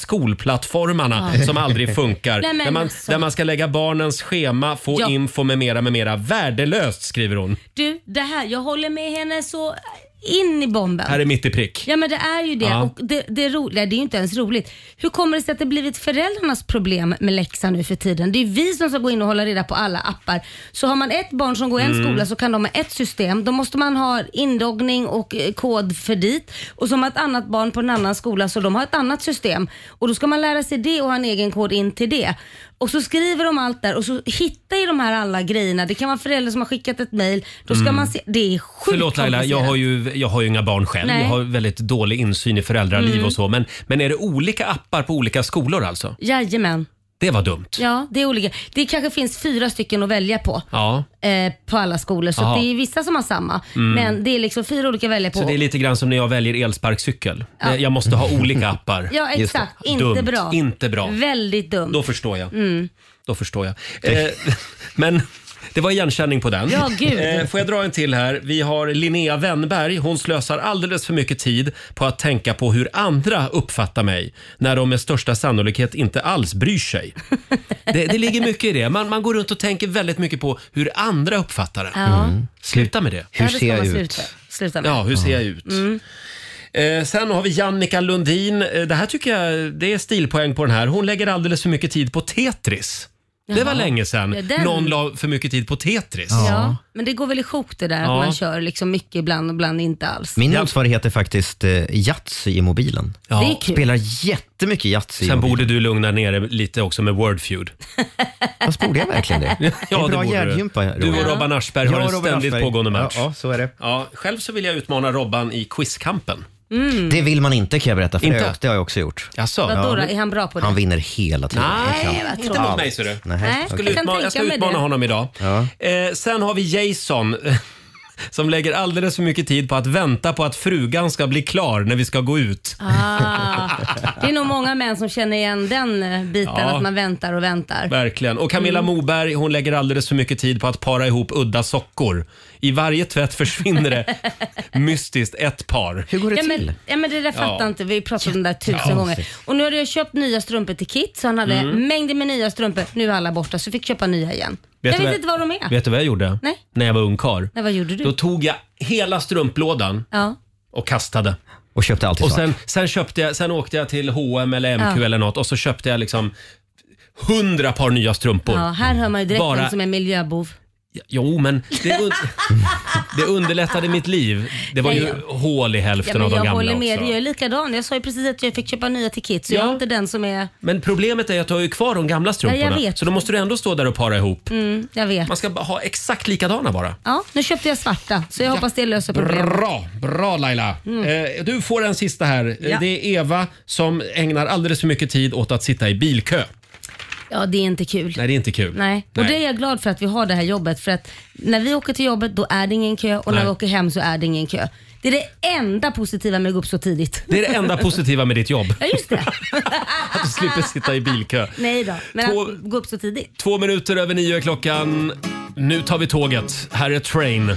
skolplattformarna Ja. som aldrig funkar. Nej, men där, man, alltså. där man ska lägga barnens schema, få Ja. info med mera, med mera. Värdelöst skriver hon. Du, det här, jag håller med henne så in i bomben. Här är mitt i prick. Ja men det är ju det. Ja. Och det, det, är ro, nej, det är ju inte ens roligt. Hur kommer det sig att det blivit föräldrarnas problem med läxan nu för tiden? Det är ju vi som ska gå in och hålla reda på alla appar. Så har man ett barn som går i en Mm. skola så kan de ha ett system. Då måste man ha inloggning och eh, kod för dit. Och så har man ett annat barn på en annan skola så de har ett annat system. Och då ska man lära sig det och ha en egen kod in till det. Och så skriver de allt där och så hittar ju de här alla grejerna. Det kan vara föräldrar som har skickat ett mail. Då ska Mm. man se. Det är sjukt Förlåt Laila, jag komplicerat. har, ju, jag har ju inga barn själv. Nej. Jag har väldigt dålig insyn i föräldraliv Mm. och så. Men, men är det olika appar på olika skolor alltså? Jajamän. Det var dumt. Ja, det är olika. Det kanske finns fyra stycken att välja på. Ja. Eh, på alla skolor. Så Jaha. att det är vissa som har samma. Mm. Men det är liksom fyra olika att välja på. Så det är lite grann som när jag väljer elsparkcykel. Ja. Jag måste ha olika appar. Ja, Just det. exakt. Inte dumt. bra. Inte bra. Väldigt dumt. Då förstår jag. Mm. Då förstår jag. Eh, men det var igenkänning på den. Eh, Ja, gud. får jag dra en till här? Vi har Linnea Wennberg. Hon slösar alldeles för mycket tid på att tänka på hur andra uppfattar mig när de med största sannolikhet inte alls bryr sig. Det, det ligger mycket i det. Man, man går runt och tänker väldigt mycket på hur andra uppfattar en. Ja. Mm. Sluta med det. Ja, det ska man Sluta, sluta med. Ja, hur ser jag ut? Mm. Eh, sen har vi Jannica Lundin. Eh, det här tycker jag det är stilpoäng på den här. Hon lägger alldeles för mycket tid på Tetris. Det var Jaha. länge sedan Ja, den- någon la för mycket tid på Tetris. Ja. men det går väl i sjok det där Ja. att man kör liksom mycket ibland och ibland inte alls. Min motsvarighet är faktiskt eh, Yatzy i mobilen. Ja. Det är kul. Spelar jättemycket Yatzy. Sen borde du lugna ner dig lite också med Wordfeud. Fast borde jag verkligen det? det Ja, är det bra borde du. hjärngympa. Roger. Du och Robban Aschberg Jag har en och Robban ständigt Aschberg. pågående match. Ja, ja, så är det. Ja, själv så vill jag utmana Robban i quizkampen. Det vill man inte kan jag berätta, för Inte? det, har jag- det har jag också gjort. Jaså? Vadå då? Är han bra på det? Han vinner hela tiden. Nej, Han kan vad Inte mot allt. mig ser du. Nej, Nej, Jag, jag skulle kan utmana, tänka jag ska mig utmana det. honom idag. Ja. Eh, sen har vi Jason. Som lägger alldeles för mycket tid på att vänta på att frugan ska bli klar när vi ska gå ut. Ah, det är nog många män som känner igen den eh, biten, Ja. att man väntar och väntar. Verkligen. Och Camilla Mm. Moberg hon lägger alldeles för mycket tid på att para ihop udda sockor. I varje tvätt försvinner det mystiskt ett par. Hur går Ja men, ja men det där fattar Ja. inte vi har pratat om det där tusen Ja. gånger. Och nu har jag köpt nya strumpor till Kit så han hade Mm. mängder med nya strumpor. Nu är alla borta så jag fick köpa nya igen. jag du vet vad- inte var de är. Vet du vad jag gjorde? Nej. När jag var ungkarl. Nej, vad gjorde du? Då tog jag hela strumplådan Ja. och kastade. Och köpte alltid Och svart. sen, sen, köpte jag, sen åkte jag till H&M eller MQ Ja. eller något och så köpte jag liksom hundra par nya strumpor. ja, här hör man ju direkt Bara- vem som är miljöbov. Jo, men det, un- det underlättade mitt liv. Det var Ja, ju ja. hål i Ja, hälften men av de jag gamla håller med, också. jag är likadan. Jag sa ju precis att jag fick köpa nya till Kit så jag är inte den som är... Men problemet är att du har ju kvar de gamla strumporna. Ja, jag vet. Så då måste du ändå stå där och para ihop. Mm, jag vet. Man ska bara ha exakt likadana bara. Ja, nu köpte jag svarta så jag hoppas det löser problemet. Bra, bra Laila. Eh, du får en sista här. Eh, Ja. Det är Eva som ägnar alldeles för mycket tid åt att sitta i bilkö. Ja, det är inte kul. Nej, det är inte kul. Nej, och det är jag glad för att vi har det här jobbet. För att när vi åker till jobbet då är det ingen kö och Nej. när vi åker hem så är det ingen kö. Det är det enda positiva med att gå upp så tidigt. Det är det enda positiva med ditt jobb. Ja, just det. Att du slipper sitta i bilkö. Nej då, men Två- att gå upp så tidigt. Två minuter över nio är klockan. Nu tar vi tåget. Här är Train.